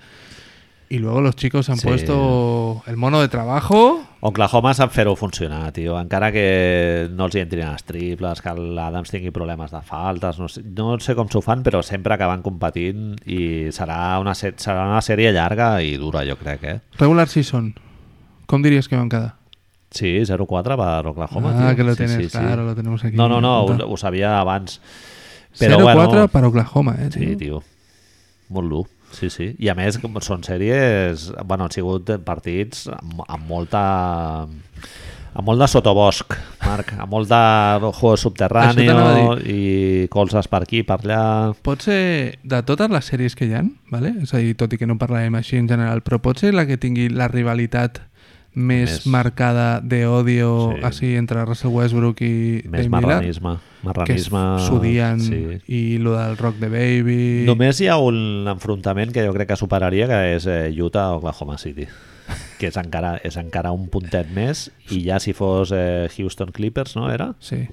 [SPEAKER 2] Y luego los chicos han
[SPEAKER 1] Sí.
[SPEAKER 2] puesto el mono de trabajo.
[SPEAKER 1] Oklahoma sap fer-ho funcionar, tio. Encara que no els hi entrin els triples, que l'Adams tingui problemes de faltes, no sé, no sé com s'ho fan, però sempre acaben competint i serà una, se- serà una sèrie llarga i dura, jo crec, eh?
[SPEAKER 2] Regular season. Com diries que van quedar?
[SPEAKER 1] Sí, 0-4 per Oklahoma,
[SPEAKER 2] ah,
[SPEAKER 1] tio.
[SPEAKER 2] que lo
[SPEAKER 1] sí,
[SPEAKER 2] tienes,
[SPEAKER 1] sí, sí.
[SPEAKER 2] claro, lo tenemos aquí.
[SPEAKER 1] No, no, no,
[SPEAKER 2] apuntado.
[SPEAKER 1] ho, ho sabia abans. Però,
[SPEAKER 2] 0-4
[SPEAKER 1] bueno,
[SPEAKER 2] para Oklahoma, eh,
[SPEAKER 1] Sí,
[SPEAKER 2] tio?
[SPEAKER 1] tio. Molt dur. Sí, sí. I a més, com són sèries... Bueno, han sigut partits amb, amb molta A molt de sotobosc, Marc. A molt de juego
[SPEAKER 2] Això t'anava
[SPEAKER 1] subterráneo
[SPEAKER 2] a
[SPEAKER 1] i colzes per aquí, per allà...
[SPEAKER 2] Pot ser de totes les sèries que hi ha, vale? és a dir, tot i que no parlarem així en general, però pot ser la que tingui la rivalitat més,
[SPEAKER 1] Més.
[SPEAKER 2] marcada d'odi o
[SPEAKER 1] Sí.
[SPEAKER 2] així entre Russell Westbrook i
[SPEAKER 1] Més
[SPEAKER 2] Dame Lillard,
[SPEAKER 1] marranisme.
[SPEAKER 2] que es
[SPEAKER 1] Marranisme...
[SPEAKER 2] s'odien
[SPEAKER 1] Sí.
[SPEAKER 2] i lo del Rock the Baby...
[SPEAKER 1] Només hi ha un enfrontament que jo crec que superaria, que és eh, Utah-Oklahoma City, que és encara, és encara un puntet més, i ja si fos eh, Houston Clippers, no era?
[SPEAKER 2] Sí.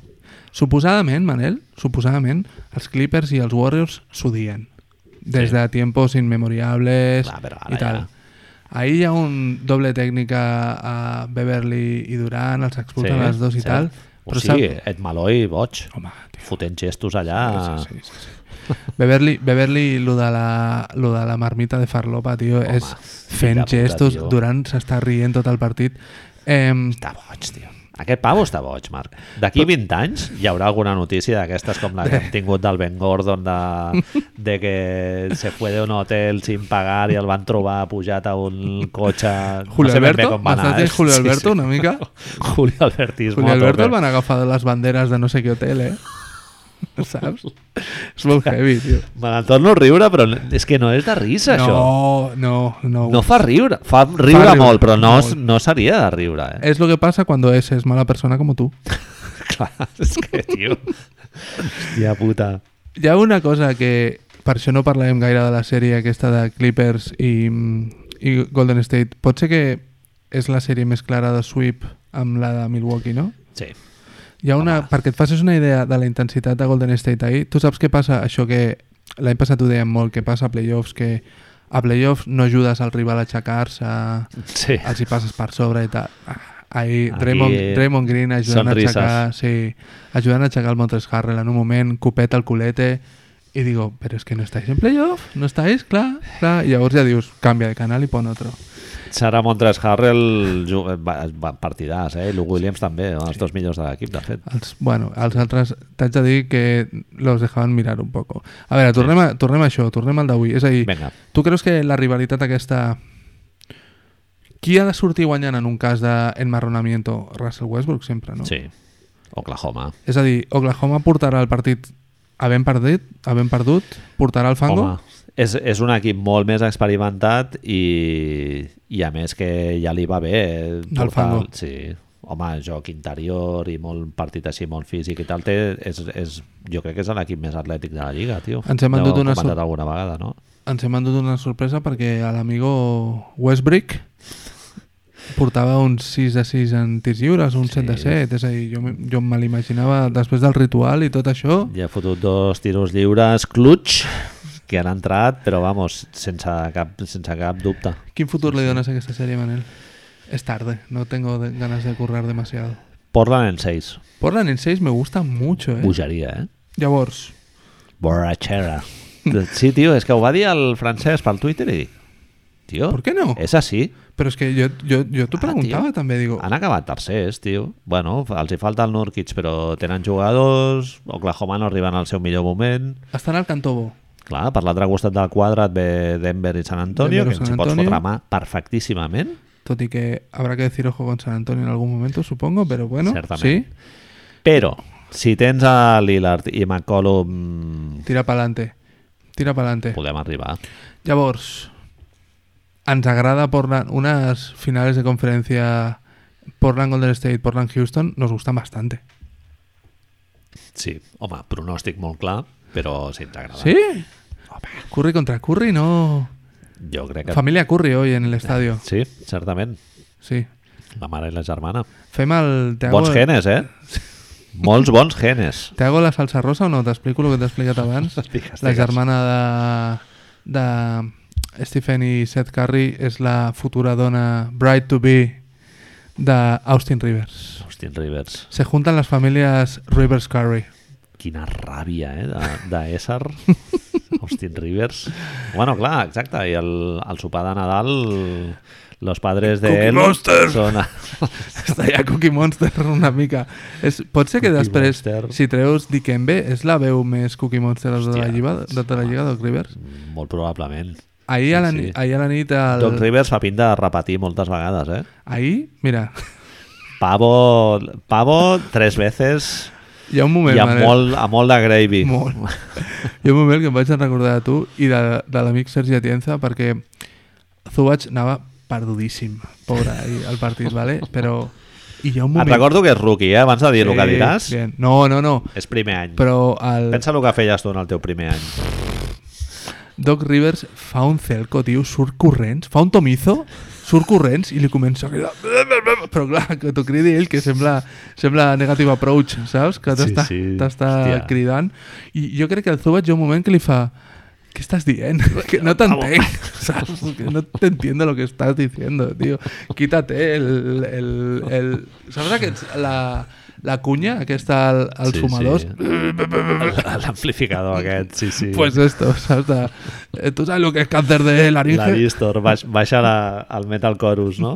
[SPEAKER 2] Suposadament, Manel, suposadament, els Clippers i els Warriors s'odien. Des
[SPEAKER 1] Sí.
[SPEAKER 2] de tiempos inmemoriables
[SPEAKER 1] Clar, però ara
[SPEAKER 2] i tal.
[SPEAKER 1] ja-
[SPEAKER 2] Ahir hi ha un doble tècnica a Beverly i Durant, els expulsen els dos i
[SPEAKER 1] cert.
[SPEAKER 2] tal.
[SPEAKER 1] O sigui,
[SPEAKER 2] sap-
[SPEAKER 1] Ed Malloy, boig,
[SPEAKER 2] Home, tio,
[SPEAKER 1] fotent gestos allà...
[SPEAKER 2] sí, sí, sí, sí. Beverly, Beverly lo, de la, lo de la marmita de farlopa, tio,
[SPEAKER 1] Home,
[SPEAKER 2] és fent
[SPEAKER 1] filla puta,
[SPEAKER 2] gestos.
[SPEAKER 1] tio.
[SPEAKER 2] Durant s'està rient tot el partit. Em,
[SPEAKER 1] Està boig, tio. Aquest pavo està boig, Marc. D'aquí 20 anys hi haurà alguna notícia d'aquestes com la que
[SPEAKER 2] [LAUGHS]
[SPEAKER 1] hem tingut del Ben Gordon de, de que se fue de un hotel sin pagar i el van trobar pujat a un cotxe...
[SPEAKER 2] [LAUGHS]
[SPEAKER 1] no
[SPEAKER 2] Julio
[SPEAKER 1] sé ben bé
[SPEAKER 2] Alberto,
[SPEAKER 1] com va anar,
[SPEAKER 2] bastante
[SPEAKER 1] eh?
[SPEAKER 2] Julio
[SPEAKER 1] Sí,
[SPEAKER 2] Alberto,
[SPEAKER 1] sí.
[SPEAKER 2] una mica.
[SPEAKER 1] [LAUGHS] Julio Albertismo.
[SPEAKER 2] Julio
[SPEAKER 1] a tope.
[SPEAKER 2] Alberto el van agafar de les banderes de no sé què hotel,
[SPEAKER 1] [LAUGHS]
[SPEAKER 2] eh? Saps? És molt heavy, tio.
[SPEAKER 1] Me la torno a riure, però és que no és de risa, això.
[SPEAKER 2] No, no, no.
[SPEAKER 1] No fa riure. Fa riure,
[SPEAKER 2] riure,
[SPEAKER 1] molt, però no,
[SPEAKER 2] molt.
[SPEAKER 1] no seria de riure, eh?
[SPEAKER 2] Es lo que pasa cuando es, es mala persona como tú.
[SPEAKER 1] Clar, és que, tio... Hòstia puta.
[SPEAKER 2] Hi ha una cosa que... Per això no parlarem gaire de la sèrie aquesta de Clippers i, i Golden State. Pot ser que és la sèrie més clara de sweep amb la de Milwaukee, no?
[SPEAKER 1] Sí.
[SPEAKER 2] Hi ha una,
[SPEAKER 1] Home.
[SPEAKER 2] perquè et facis una idea de la intensitat de Golden State ahir, tu saps què passa? Això que l'any passat ho dèiem molt, que passa a playoffs, que a playoffs no ajudes al rival a aixecar-se,
[SPEAKER 1] Sí.
[SPEAKER 2] els hi passes per sobre i tal. Ah, Ahir
[SPEAKER 1] Aquí,
[SPEAKER 2] Draymond, Draymond Green ajudant a,
[SPEAKER 1] sonrises.
[SPEAKER 2] aixecar, sí, ajudant a aixecar el Montres Harrell en un moment, copet al culete, i digo, però és que no estàs en playoff, no estàs, clar, clar. I llavors ja dius, canvia de canal i pon otro.
[SPEAKER 1] Sara Montres Harrell ju- va, va partidàs, eh? I Lou Williams també, els dos millors de l'equip, de fet.
[SPEAKER 2] Els, bueno, els altres, t'haig de dir que los dejaven mirar un poco. A veure, tornem a, tornem a això, tornem al d'avui. És a dir,
[SPEAKER 1] Vinga.
[SPEAKER 2] tu creus que la rivalitat aquesta... Qui ha de sortir guanyant en un cas d'enmarronamiento? Russell Westbrook, sempre, no?
[SPEAKER 1] Sí. Oklahoma.
[SPEAKER 2] És a dir, Oklahoma portarà el partit havent perdut, havent perdut portarà el fango?
[SPEAKER 1] Home, és, és un equip molt més experimentat i, i a més que ja li va bé eh,
[SPEAKER 2] Del fango.
[SPEAKER 1] Sí. Home, joc interior i molt partit així, molt físic i tal. Té, és, és, jo crec que és l'equip més atlètic de la Lliga, tio.
[SPEAKER 2] Ens hem
[SPEAKER 1] Ja ho
[SPEAKER 2] endut
[SPEAKER 1] hem
[SPEAKER 2] una
[SPEAKER 1] comentat
[SPEAKER 2] sor-
[SPEAKER 1] alguna vegada, no?
[SPEAKER 2] Ens hem endut una sorpresa perquè a l'amigo Westbrick portava un 6 de 6 en tirs lliures, un
[SPEAKER 1] Sí.
[SPEAKER 2] 7 de 7, és a dir, jo, me- jo me l'imaginava després del ritual i tot això,
[SPEAKER 1] Ja ha fotut dos tiros lliures clutch que han entrat, però vamos, sense cap, sense cap dubte.
[SPEAKER 2] quin futur li dones a aquesta sèrie, Manel? És tarde, no tengo de- ganas de currar demasiado.
[SPEAKER 1] Portland en 6.
[SPEAKER 2] Portland en 6 me gusta mucho, eh?
[SPEAKER 1] Bogeria, eh?
[SPEAKER 2] Llavors,
[SPEAKER 1] Borrachera. Sí, tio, és que ho va dir el francès pel Twitter i dic, tio,
[SPEAKER 2] ¿por qué no?
[SPEAKER 1] és així.
[SPEAKER 2] Però és que jo, jo, jo t'ho
[SPEAKER 1] Ah,
[SPEAKER 2] preguntava
[SPEAKER 1] tio.
[SPEAKER 2] també, digo,
[SPEAKER 1] Han acabat tercers, tio. Bueno, fa- els hi falta el Nurkic, però tenen jugadors, Oklahoma no arriben al seu millor moment.
[SPEAKER 2] estan al cantó bo.
[SPEAKER 1] Clar, per l'altre costat del quadre et ve Denver i San Antonio,
[SPEAKER 2] Denver
[SPEAKER 1] que
[SPEAKER 2] o
[SPEAKER 1] ens
[SPEAKER 2] San
[SPEAKER 1] hi pots
[SPEAKER 2] Antonio.
[SPEAKER 1] fotre mà perfectíssimament.
[SPEAKER 2] Tot y que habrá que decir ojo con San Antonio en algún momento, supongo, pero bueno,
[SPEAKER 1] Certament. Però, si tens a Lillard i McCollum,
[SPEAKER 2] sí, tira para adelante. Tira para adelante.
[SPEAKER 1] podem arribar.
[SPEAKER 2] Llavors, ens agrada Portland, unas finales de conferencia Portland Golden State, Portland Houston, nos gustan bastante.
[SPEAKER 1] Sí, home, pronòstic molt clar, però si ens agrada.
[SPEAKER 2] ¿Sí? Curry contra Curry, no.
[SPEAKER 1] Jo crec que...
[SPEAKER 2] Familia Curry hoy en el estadio.
[SPEAKER 1] Sí, certament.
[SPEAKER 2] Sí.
[SPEAKER 1] La mare i la germana.
[SPEAKER 2] Fem el... Te hago,
[SPEAKER 1] Bons genes, eh? Molts bons genes.
[SPEAKER 2] te hago la salsa rosa o no? T'explico el que t'he
[SPEAKER 1] [LAUGHS]
[SPEAKER 2] explicat abans?
[SPEAKER 1] Digues,
[SPEAKER 2] La
[SPEAKER 1] digues.
[SPEAKER 2] germana de, de Stephen i Seth Curry és la futura dona Bright to be d'Austin Rivers.
[SPEAKER 1] Austin Rivers.
[SPEAKER 2] Se junten les famílies Rivers Curry.
[SPEAKER 1] Quina ràbia, eh? de- D'ésser. Austin Rivers. Bueno, clar, exacte. I el, el sopar de Nadal... Los padres de
[SPEAKER 2] Cookie
[SPEAKER 1] él
[SPEAKER 2] Monster.
[SPEAKER 1] son a-
[SPEAKER 2] Està ja Cookie Monster una mica. És, pot ser que
[SPEAKER 1] Cookie
[SPEAKER 2] després,
[SPEAKER 1] Monster.
[SPEAKER 2] si treus Dikembe, és la veu més Cookie Monster de tota
[SPEAKER 1] Hòstia,
[SPEAKER 2] la, lliga, de tota la lliga del Rivers.
[SPEAKER 1] Molt probablement.
[SPEAKER 2] Ahir a la,
[SPEAKER 1] Sí,
[SPEAKER 2] nit,
[SPEAKER 1] sí.
[SPEAKER 2] ahir a la nit...
[SPEAKER 1] El... Doc
[SPEAKER 2] El,
[SPEAKER 1] Rivers fa pinta de repetir moltes vegades, eh?
[SPEAKER 2] ahir, mira, [LAUGHS]
[SPEAKER 1] Pavo, pavo tres veces
[SPEAKER 2] Hi ha un moment,
[SPEAKER 1] i amb
[SPEAKER 2] Manel,
[SPEAKER 1] molt, amb molt de gravy. [LAUGHS]
[SPEAKER 2] Molt. Hi ha un moment que em vaig recordar de tu i de, de l'amic Sergi Atienza perquè Zubac anava perdudíssim, pobre, ahir al partit, vale? però i hi ha un
[SPEAKER 1] Et
[SPEAKER 2] moment...
[SPEAKER 1] recordo que és rookie, eh? abans de dir el
[SPEAKER 2] Sí,
[SPEAKER 1] que diràs.
[SPEAKER 2] Bien. No, no, no,
[SPEAKER 1] És primer any.
[SPEAKER 2] però el
[SPEAKER 1] Pensa el que feies tu en el teu primer any.
[SPEAKER 2] Doc Rivers fa un celco, tio, surt corrents, fa un tomizo, surt corrents i li comença a cridar... Però clar, que t'ho cridi ell, que sembla, sembla negative approach, saps? Que
[SPEAKER 1] Sí,
[SPEAKER 2] t'està
[SPEAKER 1] sí,
[SPEAKER 2] t'està
[SPEAKER 1] hòstia.
[SPEAKER 2] cridant. I jo crec que el Zubat hi ha un moment que li fa... ¿Qué
[SPEAKER 1] [LAUGHS]
[SPEAKER 2] estás dient? Que no t'entenc, saps? Que no te entiendo lo que estás diciendo, tío. Quítate el... el, el... Saps aquests, la, la cunya, aquesta, al, als
[SPEAKER 1] Sí,
[SPEAKER 2] fumadors?
[SPEAKER 1] sí. L'amplificador aquest, sí, sí.
[SPEAKER 2] Pues esto, ¿sabes? ¿Tú sabes lo que es cáncer de laringe?
[SPEAKER 1] L'Aristor, baix, baixa la, al Metal Chorus, no?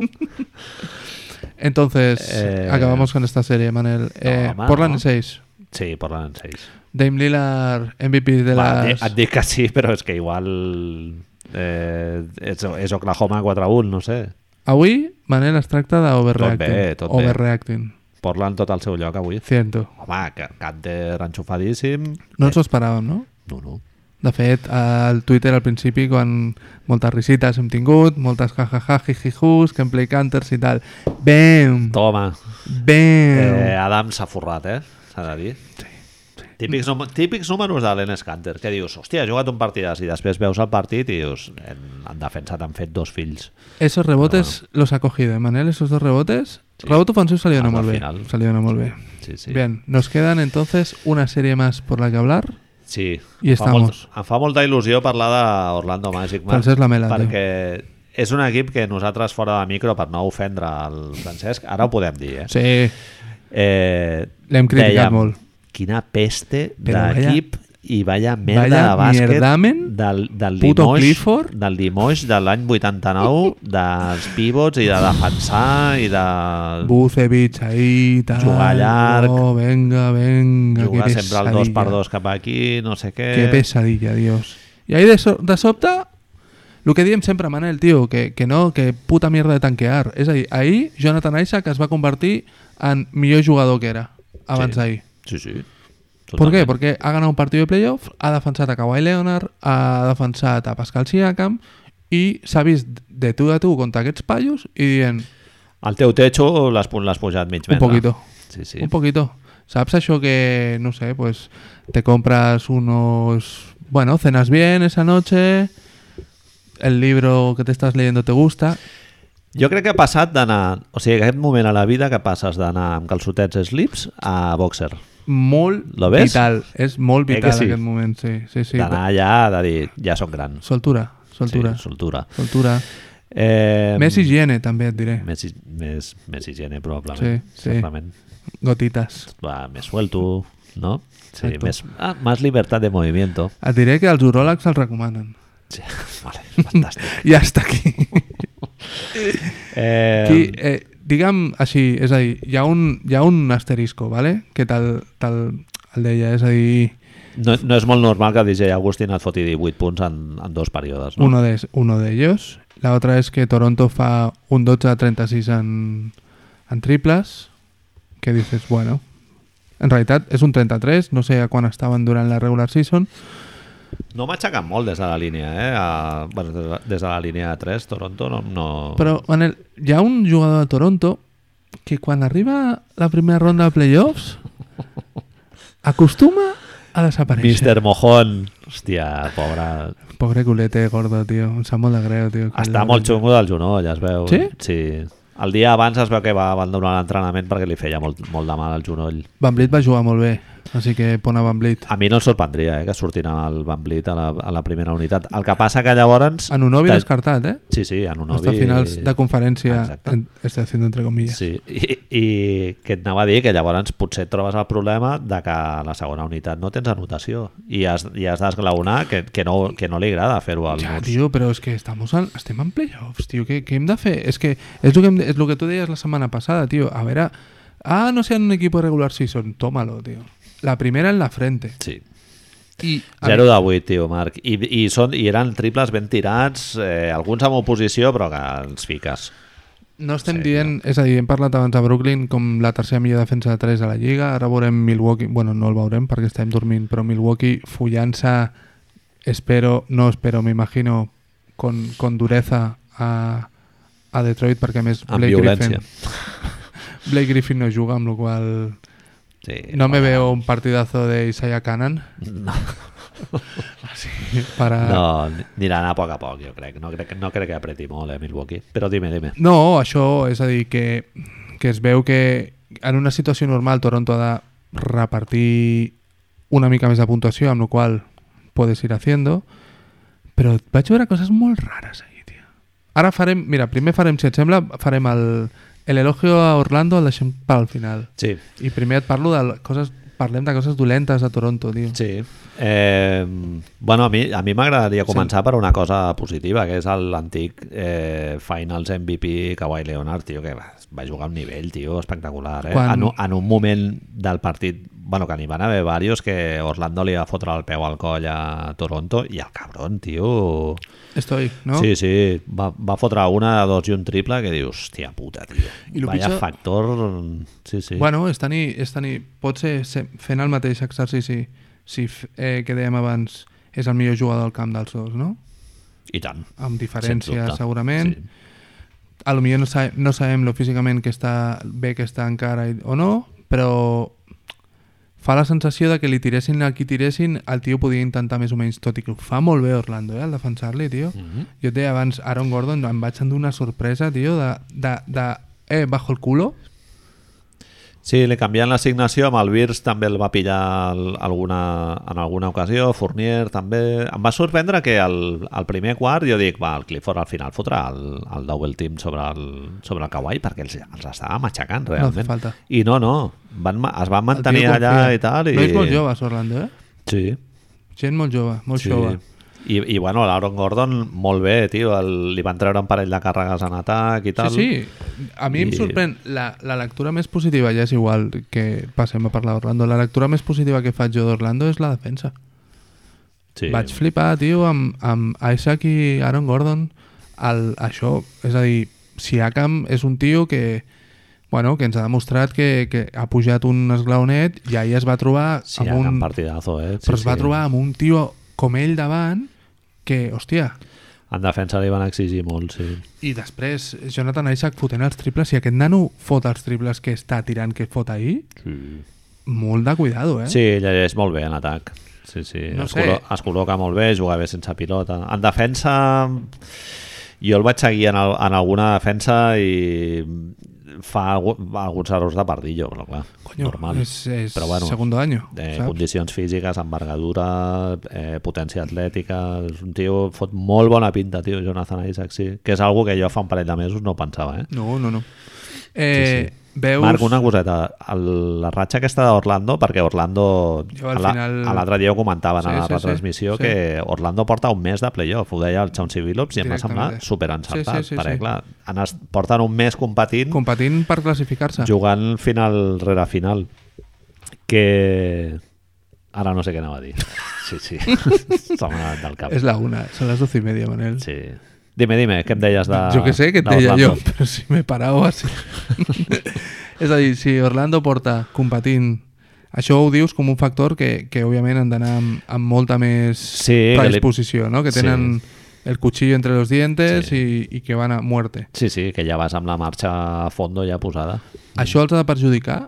[SPEAKER 2] Entonces,
[SPEAKER 1] Eh,
[SPEAKER 2] acabamos con esta serie, Manel. Eh,
[SPEAKER 1] home,
[SPEAKER 2] Portland
[SPEAKER 1] no.
[SPEAKER 2] 6.
[SPEAKER 1] Sí, porlen en seis.
[SPEAKER 2] Dame Lillard, MVP de
[SPEAKER 1] Va, et,
[SPEAKER 2] las...
[SPEAKER 1] di- et dic que sí, però és que igual eh, és, és Oklahoma 4-1, no sé.
[SPEAKER 2] Avui, Manel, es tracta de overreacting.
[SPEAKER 1] Tot bé, tot bé.
[SPEAKER 2] overreacting.
[SPEAKER 1] Portland tot al seu lloc avui.
[SPEAKER 2] Cierto.
[SPEAKER 1] Home, que Canter enxufadíssim.
[SPEAKER 2] No ens ho esperàvem, no?
[SPEAKER 1] Eh, No, no.
[SPEAKER 2] De fet, al Twitter al principi, quan moltes risites hem tingut, moltes jajaja, jijijus, que em play canters i tal. Bam!
[SPEAKER 1] Toma. Eh,
[SPEAKER 2] Bam!
[SPEAKER 1] Adam s'ha forrat, eh? S'ha de dir. Típics, num típics números de l'Enes Canter, que dius, hòstia, ha jugat un partidàs i després veus el partit i dius, en, en defensa t'han fet dos fills.
[SPEAKER 2] Esos rebotes los ha cogido, ¿eh, Manel? Esos dos rebotes. Rebote ofensivo salió no
[SPEAKER 1] Hasta el
[SPEAKER 2] muy bien.
[SPEAKER 1] final.
[SPEAKER 2] Salió no muy bien.
[SPEAKER 1] Sí, sí.
[SPEAKER 2] Bien, nos quedan entonces una serie más por la que hablar.
[SPEAKER 1] Sí.
[SPEAKER 2] I
[SPEAKER 1] Em fa molt-
[SPEAKER 2] estamos.
[SPEAKER 1] Em fa molta il·lusió parlar d'Orlando Magic, Marc,
[SPEAKER 2] Francesc Lamela, tio.
[SPEAKER 1] perquè és un equip que nosaltres fora de micro, per no ofendre el Francesc, ara ho podem dir, eh?
[SPEAKER 2] Sí,
[SPEAKER 1] eh
[SPEAKER 2] L'hem criticat
[SPEAKER 1] dèiem,
[SPEAKER 2] molt.
[SPEAKER 1] Quina peste
[SPEAKER 2] Però
[SPEAKER 1] d'equip i vaya merda
[SPEAKER 2] vaya
[SPEAKER 1] de bàsquet
[SPEAKER 2] mierdamen,
[SPEAKER 1] del, del,
[SPEAKER 2] puto
[SPEAKER 1] Limoges,
[SPEAKER 2] Clifford.
[SPEAKER 1] del Limoges de l'any
[SPEAKER 2] [LAUGHS]
[SPEAKER 1] 89 dels pivots i de defensar i de
[SPEAKER 2] Bucevic ahí, tal.
[SPEAKER 1] Jugar llarg.
[SPEAKER 2] No, venga, venga.
[SPEAKER 1] jugar
[SPEAKER 2] qué
[SPEAKER 1] sempre al 2 per
[SPEAKER 2] pesadilla.
[SPEAKER 1] 2 cap aquí, no sé què...
[SPEAKER 2] Qué pesadilla, Dios. Y ahí de, so- de sobte, lo que diem sempre, Manel, tío, que, que no, que puta mierda de tanquear. És a dir, ahir Jonathan Isaac es va convertir en millor jugador que era abans
[SPEAKER 1] Sí.
[SPEAKER 2] d'ahir.
[SPEAKER 1] Sí, sí.
[SPEAKER 2] ¿Por qué?
[SPEAKER 1] Totalment.
[SPEAKER 2] Porque ha ganado un partido de playoff, ha defensat a Kawhi Leonard, ha defensat a Pascal Siakam i s'ha vist de tu a tu contra aquests paios i dient
[SPEAKER 1] Al teu techo l'has pu- l'has pujat mig metre.
[SPEAKER 2] poquito.
[SPEAKER 1] Sí, sí.
[SPEAKER 2] un poquito. ¿Sabes eso que, no sé, pues te compras unos... Bueno, cenas bien esa noche, el libro que te estás leyendo te gusta.
[SPEAKER 1] Jo crec que ha passat d'anar... O sigui, aquest moment a la vida que passes d'anar amb calçotets slips a boxer.
[SPEAKER 2] Molt
[SPEAKER 1] Lo ves?
[SPEAKER 2] vital, és molt
[SPEAKER 1] Eh que
[SPEAKER 2] vital
[SPEAKER 1] sí?
[SPEAKER 2] aquest moment, sí, sí, sí.
[SPEAKER 1] D'anar allà, de dir, ja són grans.
[SPEAKER 2] Soltura, soltura,
[SPEAKER 1] Sí, soltura.
[SPEAKER 2] soltura.
[SPEAKER 1] Eh,
[SPEAKER 2] Més higiene, també et diré.
[SPEAKER 1] Més, hi- més, més higiene, probablement.
[SPEAKER 2] Sí, sí.
[SPEAKER 1] Certament.
[SPEAKER 2] Gotites.
[SPEAKER 1] Va, més suelto, no? Sí,
[SPEAKER 2] Exacto.
[SPEAKER 1] més, ah, más libertad de movimiento.
[SPEAKER 2] Et diré que els uròlegs els recomanen.
[SPEAKER 1] Sí, [LAUGHS] vale, fantàstic.
[SPEAKER 2] Ja està aquí.
[SPEAKER 1] [LAUGHS] Eh,
[SPEAKER 2] Qui, eh, digue'm així, és a dir, hi ha un, hi ha un asterisco, ¿vale? que tal, tal el deia, és a dir,
[SPEAKER 1] no, no és molt normal que DJ Agustín et foti 18 punts en, en dos períodes, no?
[SPEAKER 2] uno de, uno de ellos. La otra es que Toronto fa un 12 a 36 en, en triples, que dices, bueno, en realitat és un 33, no sé a quan estaven durant la regular season,
[SPEAKER 1] No m'ha aixecat molt des de la línia, eh? A, bueno, des, de, des de la línia 3, Toronto, no... no...
[SPEAKER 2] Però, Manel, hi ha un jugador de Toronto que quan arriba la primera ronda de
[SPEAKER 1] [LAUGHS]
[SPEAKER 2] playoffs acostuma a desaparèixer.
[SPEAKER 1] Mister Mojón, hòstia, pobre...
[SPEAKER 2] Pobre culete gordo, tio. Em sap molt de greu, tio. que
[SPEAKER 1] Està
[SPEAKER 2] el-
[SPEAKER 1] molt xungo del genoll, ja es veu.
[SPEAKER 2] Sí?
[SPEAKER 1] Sí. El dia abans es veu que va abandonar l'entrenament perquè li feia molt, molt de mal al genoll.
[SPEAKER 2] Van Blit va jugar molt bé, així que pon a Van Blit.
[SPEAKER 1] A mi no em sorprendria eh, que sortin el Van Blit a la, a la primera unitat. El que passa que llavors...
[SPEAKER 2] En un ovi
[SPEAKER 1] de-
[SPEAKER 2] descartat, eh?
[SPEAKER 1] Sí, sí, en un
[SPEAKER 2] Hasta finals de conferència
[SPEAKER 1] Exacte.
[SPEAKER 2] en- estoy haciendo entre comillas.
[SPEAKER 1] Sí, i, i que et anava a dir que llavors potser et trobes el problema de que a la segona unitat no tens anotació i has, i has d'esglaonar que, que, no, que no li agrada fer-ho al
[SPEAKER 2] Ja,
[SPEAKER 1] Murs.
[SPEAKER 2] tio, però és que estamos en, estem en playoffs, tio. Què, què hem de fer? És que és el que, hem, és el que tu deies la setmana passada, tio. A veure... Ah, no sean un equipo regular season. Tómalo, tio. La primera en la frente.
[SPEAKER 1] Sí.
[SPEAKER 2] I, a
[SPEAKER 1] 0 de 8, tio, Marc. I, i, són, I eren triples ben tirats, eh, alguns amb oposició, però que els fiques.
[SPEAKER 2] mi- No estem
[SPEAKER 1] Sí,
[SPEAKER 2] sí, dient, és a dir, hem parlat abans de Brooklyn com la tercera millor defensa de 3 a la Lliga, ara veurem Milwaukee, bueno, no el veurem perquè estem dormint, però Milwaukee follant-se, espero, no espero, m'imagino, con, con dureza a, a Detroit perquè a més
[SPEAKER 1] Amb
[SPEAKER 2] Blake
[SPEAKER 1] violència.
[SPEAKER 2] Griffin, Blake Griffin no juga, amb la qual
[SPEAKER 1] Sí,
[SPEAKER 2] no me
[SPEAKER 1] Eh, bueno,
[SPEAKER 2] veo un partidazo de Isaiah Cannon
[SPEAKER 1] No,
[SPEAKER 2] [LAUGHS] así, para...
[SPEAKER 1] no, aniran a poc a poc, jo crec. No crec, no crec que apreti molt, eh, Milwaukee. Però dime, dime.
[SPEAKER 2] No, això, és a dir, que, que es veu que en una situació normal Toronto ha de repartir una mica més de puntuació, amb la qual podes ir haciendo, però vaig veure coses molt rares ahir, tio. Ara farem, mira, primer farem, si et sembla, farem el, el elogio a Orlando, el deixem pel final.
[SPEAKER 1] Sí,
[SPEAKER 2] I primer et parlo de coses, parlem de coses dolentes a Toronto, tio.
[SPEAKER 1] sí. Eh, bueno, a mi a mi m'agradaria començar sí. per una cosa positiva, que és el- l'antic eh, Finals MVP Kawhi Leonard, tio, que va va jugar a un nivell, tio, espectacular. Eh?
[SPEAKER 2] Quan-
[SPEAKER 1] En, un- en un moment del partit, bueno, que n'hi van haver diversos, que Orlando li va fotre el peu al coll a Toronto, i el cabron, tio...
[SPEAKER 2] Estoy, no?
[SPEAKER 1] Sí, sí, va, va fotre una, dos i un triple que dius, hòstia puta, tio.
[SPEAKER 2] I lo
[SPEAKER 1] Vaya
[SPEAKER 2] pitjor-
[SPEAKER 1] factor... Sí, sí.
[SPEAKER 2] Bueno, és tenir, és tenir, pot ser, ser fent el mateix exercici si f- eh, que dèiem abans és el millor jugador del camp dels dos, no?
[SPEAKER 1] I tant.
[SPEAKER 2] Amb
[SPEAKER 1] sens
[SPEAKER 2] diferència,
[SPEAKER 1] dubte.
[SPEAKER 2] segurament. Sí. A lo millor no, sa no sabem lo físicament que està bé que està encara i- o no, però fa la sensació de que li tiressin a qui tiressin, el tio podia intentar més o menys, tot i que ho fa molt bé Orlando, eh, al defensar-li, tio.
[SPEAKER 1] Sí. Mhm.
[SPEAKER 2] Jo et deia abans, Aaron Gordon, em vaig endur una sorpresa, tio, de, de, de eh, bajo el culo,
[SPEAKER 1] Sí, li canvien l'assignació, amb el Virs també el va pillar el, alguna, en alguna ocasió, Fournier també... Em va sorprendre que el, el primer quart jo dic, va, el Clifford al final fotrà el, el double team sobre el, sobre el Kawhi perquè els, els estava matxacant
[SPEAKER 2] no
[SPEAKER 1] realment.
[SPEAKER 2] fa falta.
[SPEAKER 1] I no, no, van, ma- es van
[SPEAKER 2] El tio
[SPEAKER 1] mantenir allà
[SPEAKER 2] confia.
[SPEAKER 1] i tal. I...
[SPEAKER 2] Nois molt joves, Orlando, eh?
[SPEAKER 1] Sí,
[SPEAKER 2] Gent molt jove, molt sí. jove.
[SPEAKER 1] I, I bueno, l'Aaron Gordon molt bé, tio, el, li van treure un parell de càrregues en atac i tal.
[SPEAKER 2] Sí, sí. A mi I... em
[SPEAKER 1] I-
[SPEAKER 2] sorprèn. La, la lectura més positiva, ja és igual que passem a parlar d'Orlando, la lectura més positiva que faig jo d'Orlando és la defensa.
[SPEAKER 1] sí.
[SPEAKER 2] Vaig flipar, tio, amb, amb Isaac i Aaron Gordon. El, això, és a dir, Siakam és un tio que bueno, que ens ha demostrat que, que ha pujat un esglaonet i ahir es va trobar
[SPEAKER 1] sí,
[SPEAKER 2] amb un...
[SPEAKER 1] un partidazo, eh? Sí,
[SPEAKER 2] però es va
[SPEAKER 1] sí.
[SPEAKER 2] trobar amb un tio com ell davant que, hòstia,
[SPEAKER 1] En defensa li van exigir molt, sí.
[SPEAKER 2] I després, Jonathan Isaac fotent els triples, i aquest nano fot els triples que està tirant, que fot ahir,
[SPEAKER 1] Sí,
[SPEAKER 2] molt de cuidado, eh?
[SPEAKER 1] sí llegeix molt bé en atac. Sí, sí.
[SPEAKER 2] No
[SPEAKER 1] es,
[SPEAKER 2] sé.
[SPEAKER 1] colo es col·loca molt bé, juga bé sense pilota. En defensa... Jo el vaig seguir en, el, en alguna defensa i fa algu alguns errors de pardillo, però clar,
[SPEAKER 2] Coño,
[SPEAKER 1] normal.
[SPEAKER 2] és, és
[SPEAKER 1] Però bueno,
[SPEAKER 2] segundo año,
[SPEAKER 1] Eh,
[SPEAKER 2] saps?
[SPEAKER 1] condicions físiques, envergadura, eh, potència atlètica... És un tio fot molt bona pinta, tio, Jonathan Isaac, sí. Que és algo que jo fa un parell de mesos no pensava, eh?
[SPEAKER 2] No, no, no. Eh, Veus...
[SPEAKER 1] Marc, una coseta. El, la ratxa aquesta d'Orlando, perquè Orlando...
[SPEAKER 2] Jo al
[SPEAKER 1] a la-
[SPEAKER 2] final-
[SPEAKER 1] a l'altre dia ho comentaven
[SPEAKER 2] Sí,
[SPEAKER 1] a la
[SPEAKER 2] sí, sí,
[SPEAKER 1] retransmissió
[SPEAKER 2] sí.
[SPEAKER 1] que Orlando porta un mes de playoff. Ho deia el Chauncey Billups i em va semblar
[SPEAKER 2] Directament.
[SPEAKER 1] superencertat.
[SPEAKER 2] Sí, sí, sí,
[SPEAKER 1] perquè,
[SPEAKER 2] sí.
[SPEAKER 1] clar, han est- porten un mes competint
[SPEAKER 2] Competint per classificar-se.
[SPEAKER 1] jugant final rere final que ara no sé què anava a dir sí,
[SPEAKER 2] [LAUGHS]
[SPEAKER 1] sí, se m'ha anat del cap
[SPEAKER 2] És la una, són les 12 i media, Manel.
[SPEAKER 1] sí. dime, dime, què em deies de
[SPEAKER 2] Jo que sé que et
[SPEAKER 1] de
[SPEAKER 2] deia jo,
[SPEAKER 1] Orlando?
[SPEAKER 2] però si me
[SPEAKER 1] [LAUGHS]
[SPEAKER 2] parava... Sí. és a dir, si Orlando porta competint això ho dius com un factor que, que òbviament han d'anar amb, amb molta més
[SPEAKER 1] Sí, que li-
[SPEAKER 2] predisposició, no? que
[SPEAKER 1] Sí.
[SPEAKER 2] tenen el cuchillo entre los dientes
[SPEAKER 1] Sí.
[SPEAKER 2] i, i que van a muerte.
[SPEAKER 1] sí, sí, que ja vas amb la marxa a fondo ja posada
[SPEAKER 2] Això els ha de perjudicar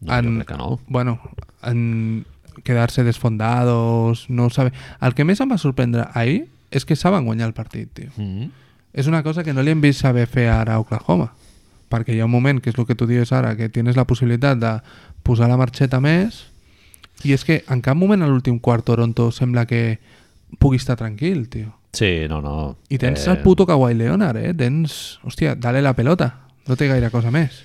[SPEAKER 1] no, jo
[SPEAKER 2] En-
[SPEAKER 1] crec que no
[SPEAKER 2] bueno, en quedar-se desfondados, no sabe... El que més em va sorprendre ahir és que saben guanyar el partit, tio.
[SPEAKER 1] mm.
[SPEAKER 2] És una cosa que no li hem vist saber fer ara a Oklahoma. Perquè hi ha un moment, que és el que tu dius ara, que tienes la possibilitat de posar la marxeta més i és que en cap moment a l'últim quart Toronto sembla que pugui estar tranquil, tio.
[SPEAKER 1] sí, no, no
[SPEAKER 2] I tens eh... el puto Kawhi Leonard, eh? Tens... Hòstia, dale la pelota. No té gaire cosa més.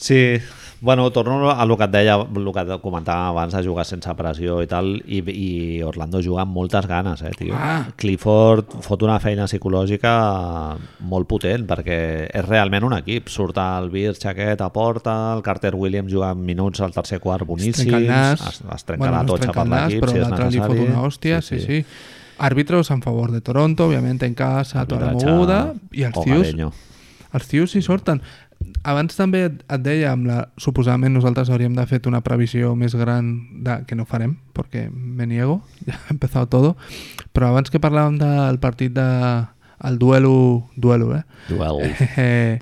[SPEAKER 1] Sí, bueno, torno a lo que et deia, el que et comentava abans de jugar sense pressió i tal, i, i Orlando juga amb moltes ganes, eh, tio.
[SPEAKER 2] Ah.
[SPEAKER 1] Clifford fot una feina psicològica molt potent, perquè és realment un equip. Surt el Beer, Chaquet, a porta, el Carter Williams juga en minuts al tercer quart boníssims,
[SPEAKER 2] trenca el nas.
[SPEAKER 1] es, es trenca bueno, la
[SPEAKER 2] no es
[SPEAKER 1] totxa
[SPEAKER 2] trenca
[SPEAKER 1] per
[SPEAKER 2] el nas,
[SPEAKER 1] l'equip,
[SPEAKER 2] però
[SPEAKER 1] si és
[SPEAKER 2] l'altre li fot
[SPEAKER 1] necessari.
[SPEAKER 2] una hòstia, sí, sí. sí. Àrbitros en favor de Toronto, òbviament en casa, tota la
[SPEAKER 1] Arbitratge
[SPEAKER 2] moguda, i els
[SPEAKER 1] o
[SPEAKER 2] tios
[SPEAKER 1] Gareño.
[SPEAKER 2] els tios hi surten. Abans també et, et deia, amb la, suposadament nosaltres hauríem de fet una previsió més gran de, que no farem, perquè me niego, [LAUGHS] ja ha empezado todo, però abans que parlàvem del partit de, el duelo, duelo, eh? [LAUGHS]
[SPEAKER 1] Duel.
[SPEAKER 2] eh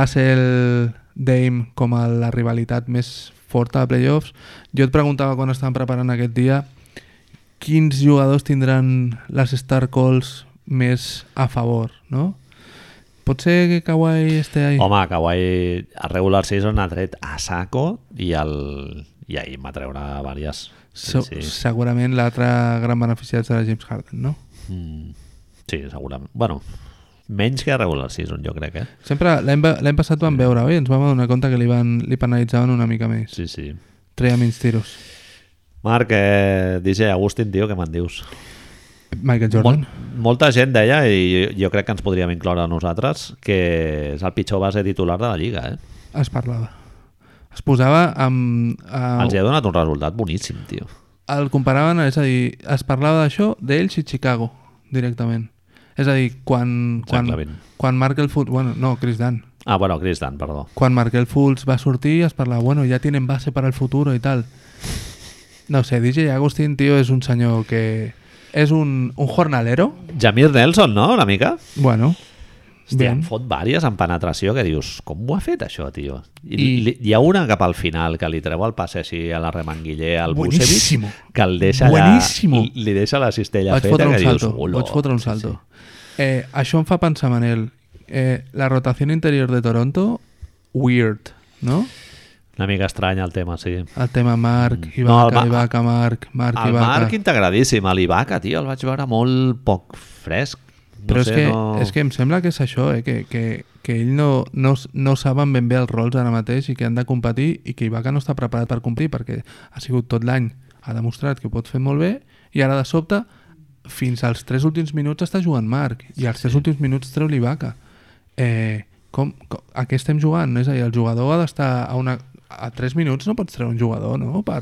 [SPEAKER 2] Russell Dame com a la rivalitat més forta de playoffs. Jo et preguntava quan estàvem preparant aquest dia quins jugadors tindran les star calls més a favor, no? Pot ser que Kawhi esté ahí.
[SPEAKER 1] Home, Kawhi a regular season ha tret a saco i, el, i ahir va treure diverses.
[SPEAKER 2] Se Segurament l'altre gran beneficiat serà James Harden, no?
[SPEAKER 1] Mm, sí, segurament. Bueno, menys que a regular season, jo crec, eh?
[SPEAKER 2] Sempre l'any va- l'any passat vam veure, oi? Ens vam adonar compte que li, van, li penalitzaven una mica més.
[SPEAKER 1] Sí, sí.
[SPEAKER 2] Treia menys tiros.
[SPEAKER 1] Marc, eh, DJ Agustin, tio, què me'n dius?
[SPEAKER 2] Michael Jordan.
[SPEAKER 1] molta gent deia, i jo crec que ens podríem incloure a nosaltres, que és el pitjor base titular de la Lliga, eh?
[SPEAKER 2] es parlava. Es posava amb...
[SPEAKER 1] Oh.
[SPEAKER 2] A,
[SPEAKER 1] Els hi ha donat un resultat boníssim, tio.
[SPEAKER 2] el comparaven, és a dir, es parlava d'això d'ells i Chicago, directament. És a dir, quan, quan,
[SPEAKER 1] Exactament.
[SPEAKER 2] quan Markel Fultz... Bueno, no, Chris Dunn.
[SPEAKER 1] Ah, bueno, Chris Dunn, perdó.
[SPEAKER 2] Quan Markel Fultz va sortir es parlava, bueno, ya tienen base para el futuro i tal. No sé, DJ Agustín, tio, és un senyor que... És un, un jornalero.
[SPEAKER 1] Jamir Nelson, no?, una mica?
[SPEAKER 2] Bueno,
[SPEAKER 1] Hòstia,
[SPEAKER 2] Bien.
[SPEAKER 1] en fot vàries en penetració que dius, com ho ha fet això, tio? I, I...
[SPEAKER 2] I-
[SPEAKER 1] Li, hi ha una cap al final que li treu el passe així a la remanguiller, al
[SPEAKER 2] Buenísimo.
[SPEAKER 1] Bucevic, que el deixa allà,
[SPEAKER 2] Buenísimo.
[SPEAKER 1] li- li deixa la cistella
[SPEAKER 2] vaig
[SPEAKER 1] feta
[SPEAKER 2] fotre un
[SPEAKER 1] que dius,
[SPEAKER 2] salto.
[SPEAKER 1] "Ulo".
[SPEAKER 2] Vaig fotre un salto. Eh, això em fa pensar, Manel, eh, la rotació interior de Toronto, weird, no?
[SPEAKER 1] Una mica estrany el tema, sí.
[SPEAKER 2] El tema Marc,
[SPEAKER 1] Mm.
[SPEAKER 2] Ibaka,
[SPEAKER 1] No, el Ma-
[SPEAKER 2] Ibaka, Marc, Marc,
[SPEAKER 1] El
[SPEAKER 2] Ibaka.
[SPEAKER 1] Marc integradíssim, a l'Ibaca, tio, el vaig veure molt poc fresc. No
[SPEAKER 2] Però
[SPEAKER 1] sé,
[SPEAKER 2] és, que,
[SPEAKER 1] no...
[SPEAKER 2] és que em sembla que és això, eh? que, que, que ell no, no, s- no saben ben bé els rols ara mateix i que han de competir i que Ibaka no està preparat per complir perquè ha sigut tot l'any, ha demostrat que ho pot fer molt bé i ara de sobte fins als tres últims minuts està jugant Marc i als tres últims minuts treu l'Ibaka. Eh, com, com, a què estem jugant? No? És a dir, el jugador ha d'estar a una... A tres minuts no pots treure un jugador, no? Per,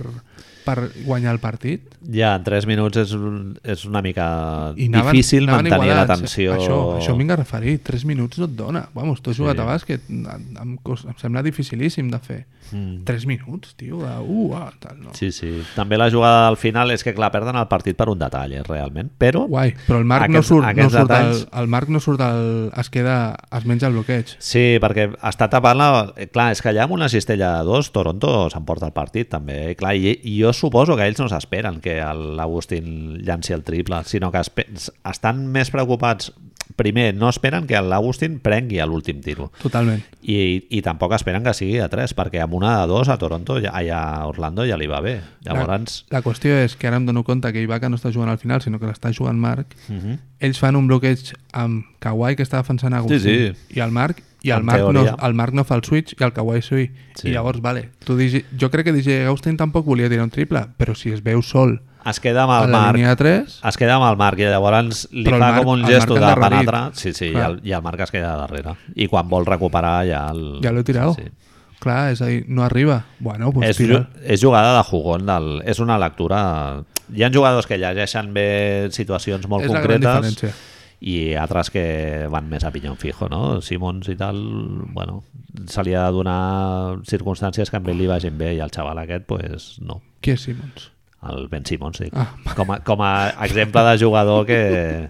[SPEAKER 2] per guanyar el partit.
[SPEAKER 1] Ja, en 3 minuts és, un- és una mica
[SPEAKER 2] I anaven,
[SPEAKER 1] difícil
[SPEAKER 2] anaven
[SPEAKER 1] mantenir
[SPEAKER 2] igualats. eh?
[SPEAKER 1] l'atenció.
[SPEAKER 2] Això, això m'hi he referit. 3 minuts no et dona. Vamos, tu has jugat a bàsquet. Em, em, cos- em sembla dificilíssim de fer.
[SPEAKER 1] Mm.
[SPEAKER 2] 3 minuts, tio. De, uh, ah, tal, no.
[SPEAKER 1] Sí, sí. També la jugada al final és que, clar, perden el partit per un detall, eh, realment. Però
[SPEAKER 2] Guai, però el Marc
[SPEAKER 1] Aquests-
[SPEAKER 2] no surt, no
[SPEAKER 1] aquests
[SPEAKER 2] surt al,
[SPEAKER 1] detalls-
[SPEAKER 2] el Marc no surt al, es queda, es menja el bloqueig.
[SPEAKER 1] Sí, perquè està tapant la... eh, Clar, és que allà amb una cistella de dos, Toronto s'emporta el partit també. I, clar, i, i jo suposo que ells no s'esperen que el- l'Agustín llanci el triple, sinó que espe- s- estan més preocupats... Primer, no esperen que l'Agustín prengui a l'últim tiro.
[SPEAKER 2] Totalment.
[SPEAKER 1] I, I tampoc esperen que sigui de 3, perquè amb una de 2 a Toronto, ja, ai, a Orlando ja li va bé.
[SPEAKER 2] Ah.
[SPEAKER 1] Llavors,
[SPEAKER 2] La, la qüestió és que ara em dono compte que Ibaka no està jugant al final, sinó que l'està jugant Marc. Uh -huh. Ells fan un bloqueig amb Kawhi, que està defensant Agustín,
[SPEAKER 1] Sí, sí.
[SPEAKER 2] i el Marc, i el
[SPEAKER 1] En
[SPEAKER 2] Marc, no,
[SPEAKER 1] teoria.
[SPEAKER 2] el Marc no fa el switch i el Kawhi sí.
[SPEAKER 1] Sí.
[SPEAKER 2] I llavors, vale, tu digi, jo crec que DJ Agustín tampoc volia tirar un triple, però si es veu sol
[SPEAKER 1] es queda amb
[SPEAKER 2] a
[SPEAKER 1] el
[SPEAKER 2] la
[SPEAKER 1] Marc
[SPEAKER 2] línia de 3,
[SPEAKER 1] es queda amb el Marc i llavors li
[SPEAKER 2] Però el
[SPEAKER 1] fa
[SPEAKER 2] Marc-
[SPEAKER 1] com un
[SPEAKER 2] el
[SPEAKER 1] gesto
[SPEAKER 2] Marc
[SPEAKER 1] de
[SPEAKER 2] endarrerit.
[SPEAKER 1] penetrar sí, sí, i,
[SPEAKER 2] Clar.
[SPEAKER 1] el, i el Marc es queda darrere i quan vol recuperar ja el...
[SPEAKER 2] ja l'he tirat.
[SPEAKER 1] sí, sí.
[SPEAKER 2] Clar, és a dir, no arriba. Bueno, pues
[SPEAKER 1] és,
[SPEAKER 2] tira.
[SPEAKER 1] ju- és jugada de jugón del, és una lectura hi ha jugadors que llegeixen bé situacions molt
[SPEAKER 2] És la gran
[SPEAKER 1] concretes
[SPEAKER 2] diferència.
[SPEAKER 1] i altres que van més a pinyón fijo no? Simons i tal bueno, se li ha de donar circumstàncies que a ell li vagin bé i al xaval aquest pues, no
[SPEAKER 2] Qui és Simons?
[SPEAKER 1] el Ben Simons sí.
[SPEAKER 2] Ah.
[SPEAKER 1] com, a, com a exemple de jugador que,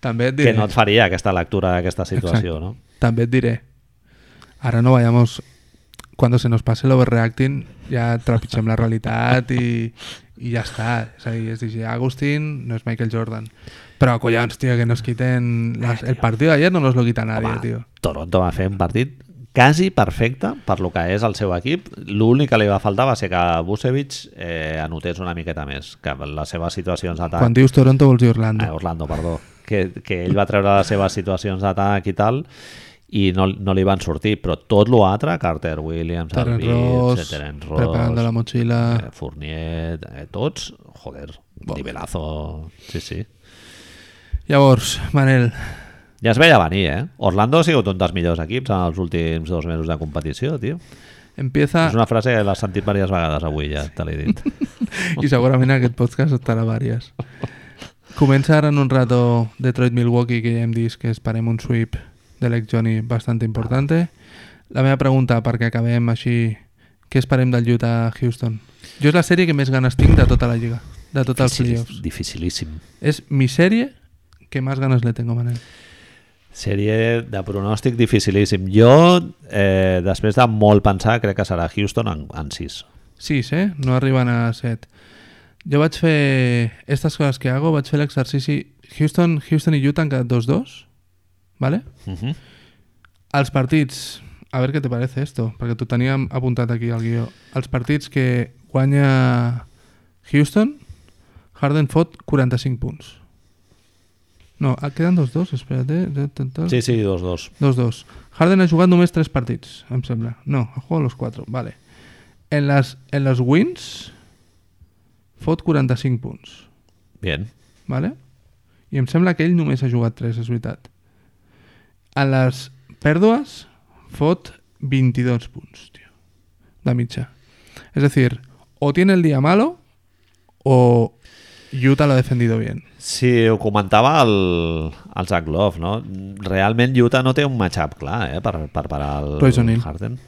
[SPEAKER 2] També et diré.
[SPEAKER 1] que no et faria aquesta lectura d'aquesta situació,
[SPEAKER 2] Exacte.
[SPEAKER 1] no?
[SPEAKER 2] También diré, ahora no vayamos, cuando se nos pase el overreacting, ya trapichem la realidad y, y ya está. Es ahí, es DJ Agustín, no es Michael Jordan. Pero collons, tío, que nos quiten las- el partido de ayer, no nos lo quita nadie,
[SPEAKER 1] Home,
[SPEAKER 2] tío.
[SPEAKER 1] Toronto va fer un partit quasi perfecte per lo que és el seu equip. L'únic que li va faltar va ser que Vucevic eh, anotés una miqueta més, que les seves situacions d'atac...
[SPEAKER 2] Cuando dius Toronto vols dir Orlando.
[SPEAKER 1] Eh, Orlando, perdó. Que, que ell va treure les seves situacions d'atac i tal i no, no li van sortir, però tot l'altre, Carter Williams,
[SPEAKER 2] Terence
[SPEAKER 1] Alvis,
[SPEAKER 2] Ross,
[SPEAKER 1] Terence Ross,
[SPEAKER 2] preparando la mochila.
[SPEAKER 1] eh, Fournier, eh, tots, joder, nivelazo, sí, sí.
[SPEAKER 2] Llavors, Manel,
[SPEAKER 1] Ja es veia venir, eh? Orlando ha sigut un dels millors equips en els últims dos mesos de competició, tio. Ah.
[SPEAKER 2] empieza
[SPEAKER 1] És una frase que l'has sentit diverses vegades avui, ja te l'he dit.
[SPEAKER 2] y seguramente aquest podcast estará varias. Comienza ahora en un rato Detroit-Milwaukee, que ya hem dit que esperem un sweep de Lake Johnny bastante importante. La meva pregunta, perquè acabem així, què esperem del Utah Houston? Jo és la sèrie que més ganes tinc de tota la lliga, de tots els playoffs.
[SPEAKER 1] dificilíssim.
[SPEAKER 2] És mi sèrie que més ganes le tengo, Manel.
[SPEAKER 1] Sèrie de pronòstic dificilíssim. Jo, eh, després de molt pensar, crec que serà Houston en, en 6.
[SPEAKER 2] 6, eh? No arriben a 7. Jo vaig fer... Estas coses que hago, vaig fer l'exercici... Houston, Houston i Utah han quedat 2-2, ¿vale?
[SPEAKER 1] Uh -huh.
[SPEAKER 2] Els partits... A veure què te parece esto, perquè t'ho teníem apuntat aquí al guió. Els partits que guanya Houston, Harden fot 45 punts. No, ah, queden 2-2, espérate.
[SPEAKER 1] Sí, sí, 2-2.
[SPEAKER 2] 2-2. Harden ha jugat només 3 partits, em sembla. No, ha jugat los 4, vale. En les, en les wins fot 45 punts,
[SPEAKER 1] Bien.
[SPEAKER 2] vale? I em sembla que ell només ha jugat 3, és veritat. En les pèrdues fot 22 punts, tio, de mitja. És a dir, o tiene el día malo o Utah lo ha defendido bien.
[SPEAKER 1] Sí, ho comentava el, el Zach Love, no? Realment Utah no té un matchup clar eh, per, per parar el
[SPEAKER 2] Royce O'Neal.
[SPEAKER 1] Harden.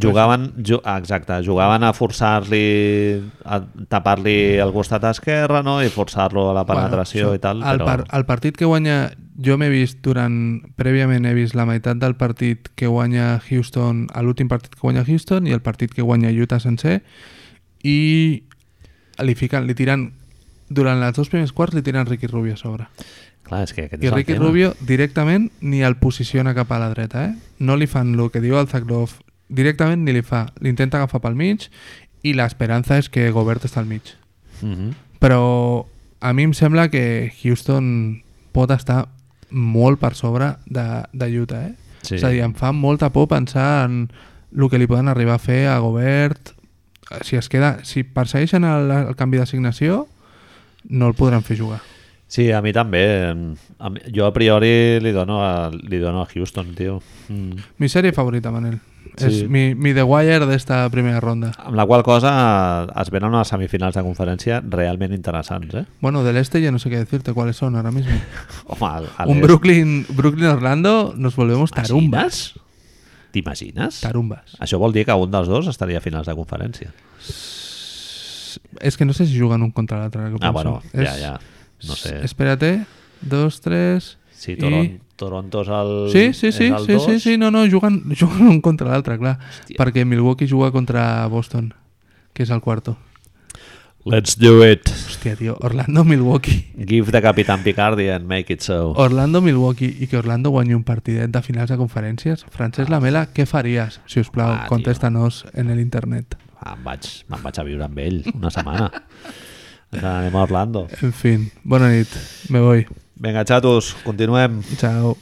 [SPEAKER 1] Jugaven, ju ah, exacte, jugaven a forçar-li, a tapar-li el costat esquerre no? i forçar-lo a la penetració
[SPEAKER 2] Bueno,
[SPEAKER 1] i tal.
[SPEAKER 2] El,
[SPEAKER 1] Però...
[SPEAKER 2] par el partit que guanya... Jo m'he vist durant... Prèviament he vist la meitat del partit que guanya Houston, a l'últim partit que guanya Houston i el partit que guanya Utah sencer i li, fiquen, li tiren durant les dos primers quarts li tiren Ricky Rubio a sobre.
[SPEAKER 1] Clar, és que aquest
[SPEAKER 2] I
[SPEAKER 1] és el
[SPEAKER 2] Ricky
[SPEAKER 1] tema.
[SPEAKER 2] Rubio directament ni el posiciona cap a la dreta, eh? No li fan el que diu el Zaglov, directament ni li fa. L'intenta agafar pel mig i l'esperança és que Gobert està al mig.
[SPEAKER 1] Mhm.
[SPEAKER 2] però a mi em sembla que Houston pot estar molt per sobre de, de Utah, eh?
[SPEAKER 1] Sí.
[SPEAKER 2] És a dir, em fa molta por pensar en el que li poden arribar a fer a Gobert. Si es queda, si persegueixen el, el canvi d'assignació, no el podran fer jugar.
[SPEAKER 1] Sí, a mi també. Em- A mi, jo a priori li dono a, li dono a Houston, tio. Mm.
[SPEAKER 2] Mi sèrie favorita, Manel.
[SPEAKER 1] Sí.
[SPEAKER 2] Sí. És mi, mi The Wire d'esta primera ronda.
[SPEAKER 1] Amb la qual cosa es venen unes semifinals de conferència realment interessants, eh?
[SPEAKER 2] Bueno, de l'este ya no sé qué decirte cuáles son ahora mismo.
[SPEAKER 1] Home, al, al
[SPEAKER 2] Un Brooklyn, Brooklyn Orlando, nos volvemos tarumbas.
[SPEAKER 1] T'imagines? T'imagines?
[SPEAKER 2] Tarumbas.
[SPEAKER 1] Això vol dir que un dels dos estaria a finals de conferència.
[SPEAKER 2] Es que no sé si juegan un contra el otro. ahora que
[SPEAKER 1] Ah,
[SPEAKER 2] pienso.
[SPEAKER 1] bueno,
[SPEAKER 2] Es-
[SPEAKER 1] ja, ja. No sé.
[SPEAKER 2] es- Espérate. Dos, tres.
[SPEAKER 1] Sí,
[SPEAKER 2] y-
[SPEAKER 1] Toron, Toronto és el...
[SPEAKER 2] Sí, sí,
[SPEAKER 1] és
[SPEAKER 2] sí,
[SPEAKER 1] el
[SPEAKER 2] sí, sí,
[SPEAKER 1] dos.
[SPEAKER 2] sí, no, no, [LAUGHS] juguen, juguen un contra l'altre, clar,
[SPEAKER 1] Hòstia.
[SPEAKER 2] perquè Milwaukee juga contra Boston, que és el quarto.
[SPEAKER 1] Let's do it.
[SPEAKER 2] Hòstia, tio, Orlando-Milwaukee.
[SPEAKER 1] Give the Capitán Picardi and make it so.
[SPEAKER 2] Orlando-Milwaukee i que Orlando guanyi un partidet de finals de conferències. Francesc Lamela, què faries? Si us plau,
[SPEAKER 1] Ah, tio.
[SPEAKER 2] contesta-nos en el internet.
[SPEAKER 1] Ah, em vaig, me'n vaig a viure amb ell una setmana. Ens anem a Orlando.
[SPEAKER 2] En fin, bona nit, me voy.
[SPEAKER 1] Vinga, xatos, continuem.
[SPEAKER 2] Ciao.